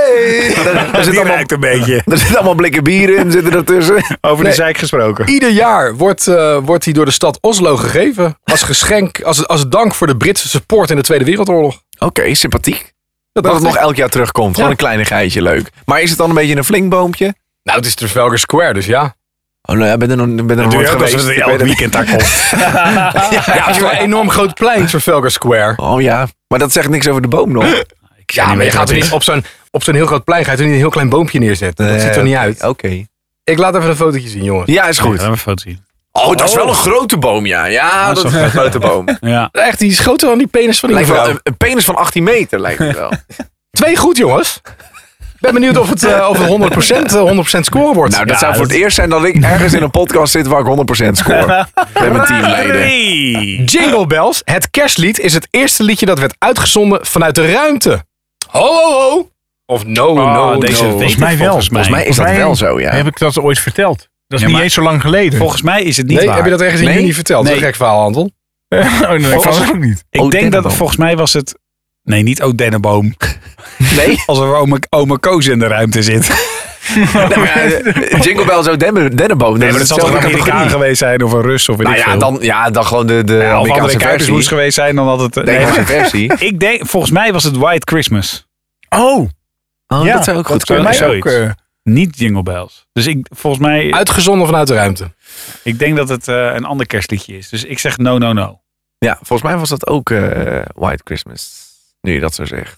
Speaker 5: Dat- Er zit
Speaker 3: Die
Speaker 5: allemaal,
Speaker 3: ruikt een beetje.
Speaker 5: er zitten allemaal blikken bier in, zitten ertussen.
Speaker 3: Over
Speaker 2: Nee.
Speaker 3: de zeik gesproken.
Speaker 2: Ieder jaar wordt, eh, wordt die door de stad Oslo gegeven. Als geschenk, als, als dank voor de Britse support in de Tweede Wereldoorlog.
Speaker 5: Oké, sympathiek.
Speaker 2: Dat
Speaker 5: Dat
Speaker 2: dacht
Speaker 5: het nog
Speaker 2: ik.
Speaker 5: elk jaar terugkomt. Gewoon een kleinigheidje, leuk. Maar is het dan een beetje een flink boompje?
Speaker 2: Nou, het is Trafalgar Square, dus ja.
Speaker 5: Oh, nou ja, ben er nog, ben er nog nooit
Speaker 3: Natuurlijk, als
Speaker 5: geweest.
Speaker 3: het
Speaker 5: Ik
Speaker 3: elk
Speaker 5: weet het-
Speaker 3: weekend daar komt.
Speaker 2: Ja, het is wel een enorm groot plein, Trafalgar Square.
Speaker 5: Oh ja, maar dat zegt niks over de boom nog.
Speaker 2: Ja, maar je gaat er niet op zo'n, op zo'n heel groot plein, ga je er niet een heel klein boompje neerzetten. Dat ziet er niet uit.
Speaker 5: Oké.
Speaker 2: Ik laat even een fotootje zien, jongen.
Speaker 5: Ja, is goed.
Speaker 3: Laten we een foto zien.
Speaker 5: Oh, dat is wel een grote boom, ja. Ja, dat is een grote boom.
Speaker 3: Ja.
Speaker 2: Echt, die is groter dan die penis van die
Speaker 5: Lijkt wel
Speaker 2: vrouw.
Speaker 5: een, een penis van 18 meter, lijkt het wel.
Speaker 2: Twee goed, jongens. Ben benieuwd of het, eh, of het 100%, eh, 100% score wordt.
Speaker 5: Nou, dat zou voor het eerst zijn dat ik ergens in een podcast zit waar ik 100% score. Met mijn teamleden.
Speaker 3: Hey.
Speaker 2: Jingle Bells, het kerstlied, is het eerste liedje dat werd uitgezonden vanuit de ruimte. Ho, ho, ho. Ah, Of no, no,
Speaker 3: Ah, deze
Speaker 2: no.
Speaker 3: weet-
Speaker 4: Volgens mij wel.
Speaker 3: Volgens mij-
Speaker 5: Volgens mij is dat wel zo, ja.
Speaker 4: Heb ik dat ooit verteld? Dat is
Speaker 3: Ja,
Speaker 4: niet
Speaker 3: maar-
Speaker 4: eens zo lang geleden.
Speaker 3: Volgens mij is het niet
Speaker 2: Nee,
Speaker 3: waar.
Speaker 2: heb je dat ergens in
Speaker 5: Nee?
Speaker 2: juni verteld? Dat is een gek verhaal, Anton.
Speaker 4: oh, nee, ik
Speaker 3: Volgens-
Speaker 4: was ook niet.
Speaker 3: Ik
Speaker 5: Oh,
Speaker 3: denk dat
Speaker 5: dennenboom.
Speaker 3: volgens mij was het... Nee, niet Oud Dennenboom.
Speaker 5: Nee?
Speaker 3: Als er oma, oma Koos in de ruimte zit.
Speaker 5: Nee, maar, eh, Jingle Bell zo Dennen- Dennenboom.
Speaker 3: Nee, maar dat
Speaker 5: is
Speaker 3: zal toch een
Speaker 5: hetzelfde
Speaker 3: Amerikaan
Speaker 5: categorie.
Speaker 3: geweest zijn of een Rus of weet
Speaker 5: Nou
Speaker 3: ik
Speaker 5: ja,
Speaker 3: veel.
Speaker 5: dan, ja, dan gewoon de, de
Speaker 3: Ja, of andere
Speaker 5: Amerikaanse versie.
Speaker 3: Kuipersmoes geweest zijn dan had het...
Speaker 5: De
Speaker 3: Nee,
Speaker 5: Engelse versie.
Speaker 3: maar ik denk, volgens mij was het White Christmas.
Speaker 4: Oh,
Speaker 5: Oh,
Speaker 4: ja,
Speaker 5: dat zou ook goed
Speaker 4: zou
Speaker 5: kunnen.
Speaker 4: mij ook,
Speaker 3: Zoiets.
Speaker 4: eh,
Speaker 3: Niet Jingle Bells. Dus ik, volgens mij,
Speaker 2: Uitgezonden vanuit de ruimte.
Speaker 3: ik denk dat het eh, een ander kerstliedje is. Dus ik zeg no, no, no.
Speaker 5: Ja, volgens mij was dat ook eh, White Christmas. Nu je dat zo zegt.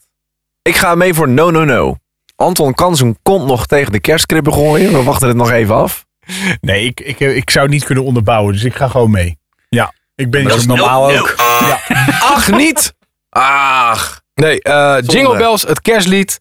Speaker 5: Ik ga mee voor No No No. Anton kan zijn kont nog tegen de kerstkribben gooien. We wachten het nog even af.
Speaker 4: nee, ik, ik, ik zou het niet kunnen onderbouwen, dus ik ga gewoon mee. Ja, ik ben
Speaker 5: dat
Speaker 4: zo
Speaker 5: is
Speaker 4: normaal
Speaker 5: no, no.
Speaker 4: ook.
Speaker 5: Ach, niet! Ach.
Speaker 2: Nee, eh, Jingle Bells, het kerstlied,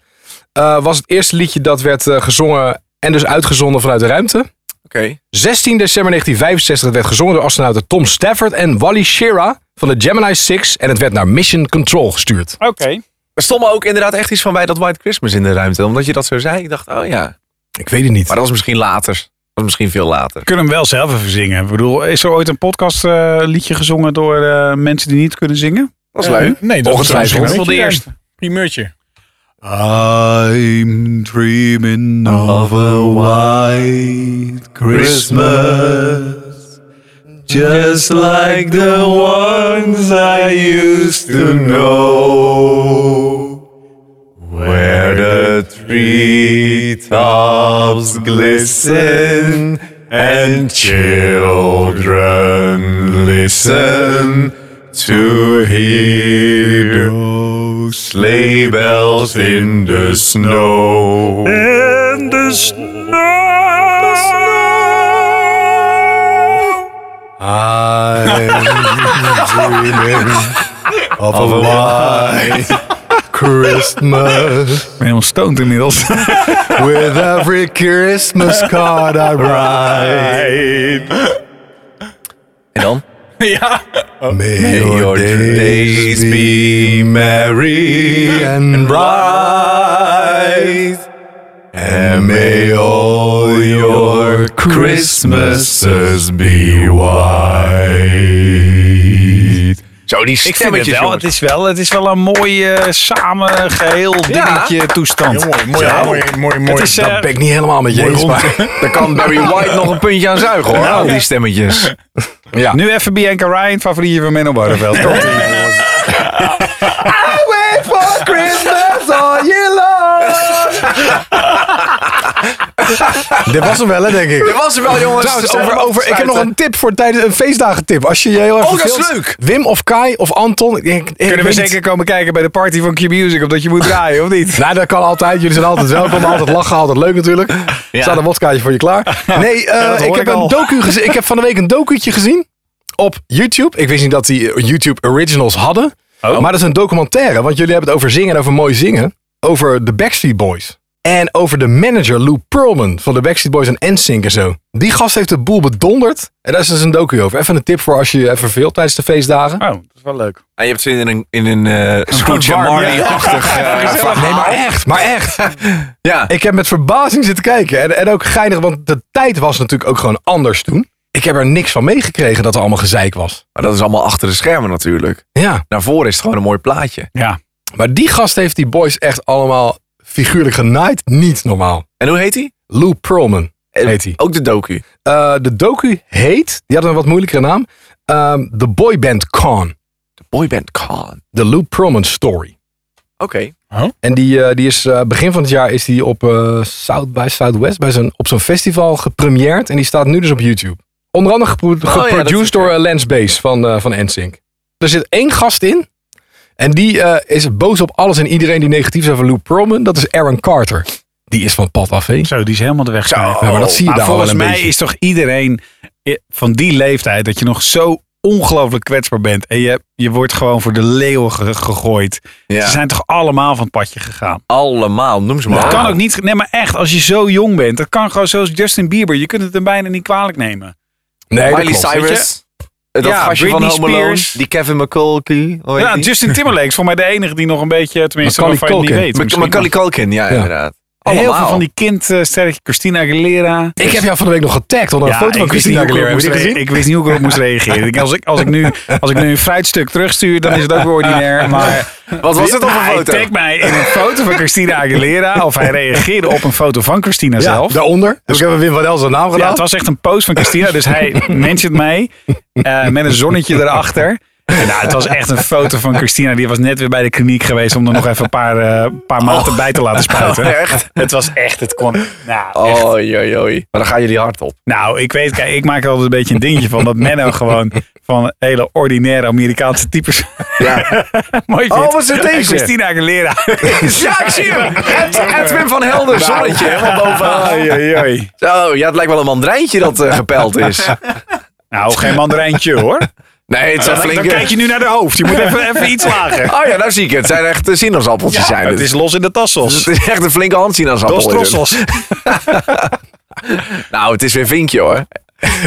Speaker 2: eh, was het eerste liedje dat werd eh, gezongen en dus uitgezonden vanuit de ruimte.
Speaker 5: Oké.
Speaker 2: 16 december 1965 werd gezongen door astronauten Tom Stafford en Wally Schirra van de Gemini 6 en het werd naar Mission Control gestuurd.
Speaker 3: Oké.
Speaker 5: Er stond me ook inderdaad echt iets van bij dat White Christmas in de ruimte. Omdat je dat zo zei. Ik dacht, oh ja.
Speaker 2: Ik weet het niet.
Speaker 5: Maar dat was misschien later. Dat was misschien veel later.
Speaker 3: kunnen hem wel zelf even zingen. Ik bedoel, is er ooit een podcast eh, liedje gezongen door eh, mensen die niet kunnen zingen?
Speaker 5: Dat was leuk.
Speaker 4: Nee, dat is
Speaker 2: Ongetwijfeld.
Speaker 4: misschien wel
Speaker 3: de
Speaker 4: de
Speaker 3: eerste.
Speaker 4: eerste. Primeurtje.
Speaker 3: I'm dreaming of a white Christmas Just like the ones I used to know Where the treetops glisten And children listen to hear sleigh bells in the snow. In the snow.
Speaker 5: Of een white Christmas.
Speaker 3: Ik ben helemaal stoned inmiddels.
Speaker 5: With every Christmas card I
Speaker 3: Right.
Speaker 5: En dan?
Speaker 4: Ja.
Speaker 5: May your days be merry and bright. And may all your Christmases be white. Zo, die
Speaker 3: Ik vind het
Speaker 5: stemmetjes,
Speaker 3: wel, het is wel, het is wel een mooi eh, samen geheel
Speaker 5: Ja.
Speaker 3: dingetje toestand.
Speaker 4: Heel mooi, mooi,
Speaker 3: Ja.
Speaker 4: mooi, mooi, mooi.
Speaker 3: Het is, eh,
Speaker 2: ben ik niet helemaal met je eens, maar...
Speaker 5: Daar kan Barry White nog een puntje aan zuigen,
Speaker 3: Nou
Speaker 5: hoor. die stemmetjes.
Speaker 2: Ja.
Speaker 3: nu even Bianca Ryan, favorietje van Menno Barneveld.
Speaker 5: Wait for Christmas all year long.
Speaker 2: Dit was hem wel, hè, denk
Speaker 5: Dat
Speaker 2: ik.
Speaker 5: was er wel, jongens.
Speaker 2: Trouwens,
Speaker 5: Over- over-
Speaker 2: ik heb nog een tip voor tijdens een feestdagen tip. Als je je heel erg
Speaker 5: Oh, dat is
Speaker 2: verveelt,
Speaker 5: leuk.
Speaker 2: Wim of Kai of Anton. Ik, denk- ik
Speaker 3: Kunnen we
Speaker 2: weet
Speaker 3: zeker
Speaker 2: niet.
Speaker 3: komen kijken bij de party van Q-Music, omdat je moet draaien, of niet?
Speaker 2: Nou, dat kan altijd. Jullie zijn altijd welkom. Altijd lachen, altijd leuk natuurlijk. Er staat een wodkaatje voor je klaar. Nee, eh,
Speaker 3: dat hoor
Speaker 2: ik, heb
Speaker 3: ik
Speaker 2: een
Speaker 3: al.
Speaker 2: docu gezien. Ik heb van de week een docu'tje gezien op YouTube. Ik wist niet dat die eh, YouTube Originals hadden.
Speaker 3: Oh.
Speaker 2: Maar dat is een documentaire. Want jullie hebben het over zingen en over mooi zingen. Over de Backstreet Boys. En over de manager Lou Pearlman van de Backstreet Boys en NSYNC en zo. Die gast heeft de boel bedonderd. En daar is dus een docu over. Even een tip voor als je je even verveelt tijdens de feestdagen.
Speaker 3: Oh, dat is wel leuk.
Speaker 5: En Ah, je hebt zin in een, in een eh Scrooge
Speaker 3: warm,
Speaker 5: Marley-achtig... eh,
Speaker 2: Nee, maar
Speaker 3: Ah.
Speaker 2: echt. Maar echt.
Speaker 5: ja.
Speaker 2: Ik heb met verbazing zitten kijken. En, en ook geinig, want de tijd was natuurlijk ook gewoon anders toen. Ik heb er niks van meegekregen dat er allemaal gezeik was.
Speaker 5: Maar dat is allemaal achter de schermen natuurlijk.
Speaker 2: Ja.
Speaker 5: Naar voren is het gewoon een mooi plaatje.
Speaker 3: Ja.
Speaker 2: Maar die gast heeft die boys echt allemaal figuurlijk genaaid. Niet normaal.
Speaker 5: En hoe heet hij?
Speaker 2: Lou Pearlman heet hij.
Speaker 5: Ook de docu.
Speaker 2: Eh, de docu heet, die had een wat moeilijkere naam, ehm The Boy Band Con.
Speaker 5: Boyband Khan.
Speaker 2: The Lou Pearlman Story.
Speaker 5: Oké.
Speaker 2: En die, eh, die is eh, begin van het jaar is die op eh, South by Southwest bij zijn, op zo'n festival gepremierd. En die staat nu dus op YouTube. Onder andere gepro-
Speaker 5: Oh dat
Speaker 2: geproduced
Speaker 5: is
Speaker 2: door
Speaker 5: oké.
Speaker 2: eh, Lance Bass van, eh van NSYNC. Er zit één gast in. En die eh, is boos op alles en iedereen die negatief is over Lou Pearlman. Dat is Aaron Carter. Die is van het pad af, hè?
Speaker 3: Zo, die is helemaal de weg. kwijt.
Speaker 2: Ja, maar dat zie je
Speaker 3: Maar
Speaker 2: daar wel
Speaker 3: volgens
Speaker 2: een
Speaker 3: mij
Speaker 2: beetje.
Speaker 3: is toch iedereen eh, van die leeftijd dat je nog zo ongelooflijk kwetsbaar bent. En je, je wordt gewoon voor de leeuw ge- gegooid.
Speaker 5: Ja.
Speaker 3: Ze zijn toch allemaal van het padje gegaan.
Speaker 5: Allemaal, noem ze maar.
Speaker 3: Dat
Speaker 5: op.
Speaker 3: kan ook niet. Nee, maar echt, als je zo jong bent, dat kan gewoon zoals Justin Bieber. Je kunt het hem bijna niet kwalijk nemen.
Speaker 2: Nee,
Speaker 5: Miley
Speaker 2: klopt.
Speaker 5: Cyrus. Dat
Speaker 3: Ja,
Speaker 5: gastje
Speaker 3: Britney
Speaker 5: van Home Alone.
Speaker 3: Spears.
Speaker 5: Die Kevin McCulkey. hoe heet
Speaker 3: Ja, dus-
Speaker 5: die?
Speaker 3: Justin Timberlake is voor mij de enige die nog een beetje, tenminste,
Speaker 2: Macaulay
Speaker 3: waarvan je het niet
Speaker 2: Culkin.
Speaker 3: weet.
Speaker 5: Mac-
Speaker 3: misschien.
Speaker 5: Macaulay Culkin, ja,
Speaker 2: Ja.
Speaker 5: inderdaad.
Speaker 3: Heel
Speaker 5: Allemaal.
Speaker 3: veel van die kindsterretje, Christina Aguilera.
Speaker 2: Ik heb jou van de week nog getagd onder een foto
Speaker 3: ik
Speaker 2: van
Speaker 3: wist
Speaker 2: Christina
Speaker 3: niet hoe
Speaker 2: Aguilera.
Speaker 3: ik
Speaker 2: Heb je
Speaker 3: erop moest re-
Speaker 2: die gezien?
Speaker 3: Ik wist niet hoe ik erop moest reageren. Ik- Als ik, als, ik nu, als ik nu een fruitstuk terugstuur, dan is het ook weer ordinair. Maar
Speaker 5: Wat was het op een
Speaker 3: Hij
Speaker 5: foto?
Speaker 3: tagt mij in een foto van Christina Aguilera. Of hij reageerde op een foto van Christina
Speaker 2: Ja,
Speaker 3: zelf.
Speaker 2: daaronder. Dus ik heb Wim van Els een naam
Speaker 3: Ja,
Speaker 2: gedaan.
Speaker 3: het was echt een post van Christina. Dus hij mentioned mij eh, met een zonnetje erachter. En nou, het was echt een foto van Christina. Die was net weer bij de kliniek geweest om er nog even een paar, eh, paar
Speaker 5: Oh.
Speaker 3: maanden bij te laten spuiten. Het was echt, het kon... Nou, echt.
Speaker 5: Oei, oei, oei. Maar dan gaan jullie hard op.
Speaker 3: Nou, ik weet, kijk, ik maak er altijd een beetje een dingetje van dat Menno gewoon van hele ordinaire Amerikaanse types.
Speaker 5: Ja.
Speaker 3: Mooi vindt.
Speaker 5: Oh, wat is het
Speaker 3: En
Speaker 5: deze?
Speaker 3: Christina Aguilera.
Speaker 5: ja, ik zie hem. Ed- Edwin van Helder, zonnetje. Helemaal bovenaan.
Speaker 3: Nou. Oei, oei, oei.
Speaker 5: Zo, ja, het lijkt wel een mandarijntje dat eh, gepeld is.
Speaker 3: Nou, geen mandarijntje hoor.
Speaker 5: Nee, het zijn
Speaker 3: Dan, dan
Speaker 5: flinke...
Speaker 3: kijk je nu naar de hoofd. Je moet even, even iets lager.
Speaker 5: Oh ja, nou zie ik het. Het zijn echt eh, sinaasappeltjes zijn
Speaker 3: het is los in de tassels.
Speaker 5: Het is echt een flinke hand sinaasappel.
Speaker 3: Dos
Speaker 5: is het.
Speaker 3: trossels.
Speaker 5: Nou, het is weer vinkje hoor.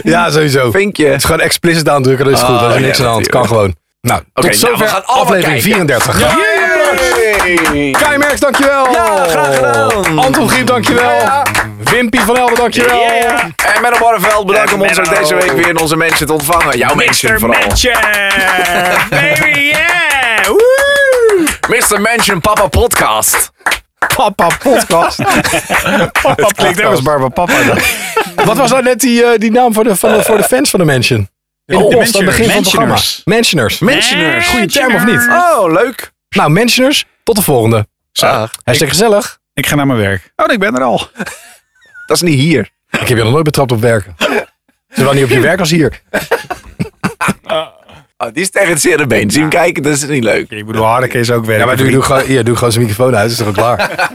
Speaker 2: Ja, sowieso.
Speaker 5: Vinkje.
Speaker 2: Het is gewoon explicit aandrukken, dat is goed.
Speaker 5: Oh,
Speaker 2: Dat is
Speaker 5: ja,
Speaker 2: niks aan de hand. Kan
Speaker 5: natuurlijk.
Speaker 2: gewoon. Nou,
Speaker 5: nou,
Speaker 2: tot zover
Speaker 5: we gaan allemaal
Speaker 2: aflevering
Speaker 5: kijken.
Speaker 2: 34. Ja. Kai Merks, dankjewel.
Speaker 5: Ja, graag gedaan.
Speaker 2: Anton Griep, dankjewel. Wimpy van Helden, dankjewel.
Speaker 5: En Menno Barreveld, bedankt om ons ook
Speaker 3: Menno.
Speaker 5: deze week weer in onze mensen te ontvangen. Jouw mensen
Speaker 3: Mr.
Speaker 5: vooral.
Speaker 3: Mansion. Baby, yeah. Woe.
Speaker 5: Mr. Mansion Papa Podcast.
Speaker 2: Papa podcast.
Speaker 3: Papa klinkt ook als Barbara Papa. dan.
Speaker 2: Wat was nou net die, eh, die naam voor de, van de, voor de fans van de Mansion? In de post, aan het begin van het programma.
Speaker 3: Mansioners.
Speaker 2: Mansioners.
Speaker 5: Oh, Mansioners.
Speaker 2: Goede term of niet?
Speaker 5: Oh, leuk.
Speaker 2: Nou, Mansioners, tot de volgende.
Speaker 5: Zo.
Speaker 2: Hartstikke gezellig.
Speaker 3: Ik ga naar mijn werk. Oh, nee, ik ben er al.
Speaker 5: Dat is niet hier.
Speaker 2: Ik heb je nog nooit betrapt op werken. Zowel niet op je werk als hier.
Speaker 5: Oh, die is tegen het zere been. Zien kijken, dat is niet leuk.
Speaker 3: Ik bedoel, Hardeke is ook werk.
Speaker 2: Ja, maar doe, doe, gewoon, ja, doe gewoon zijn microfoon uit, is toch al klaar?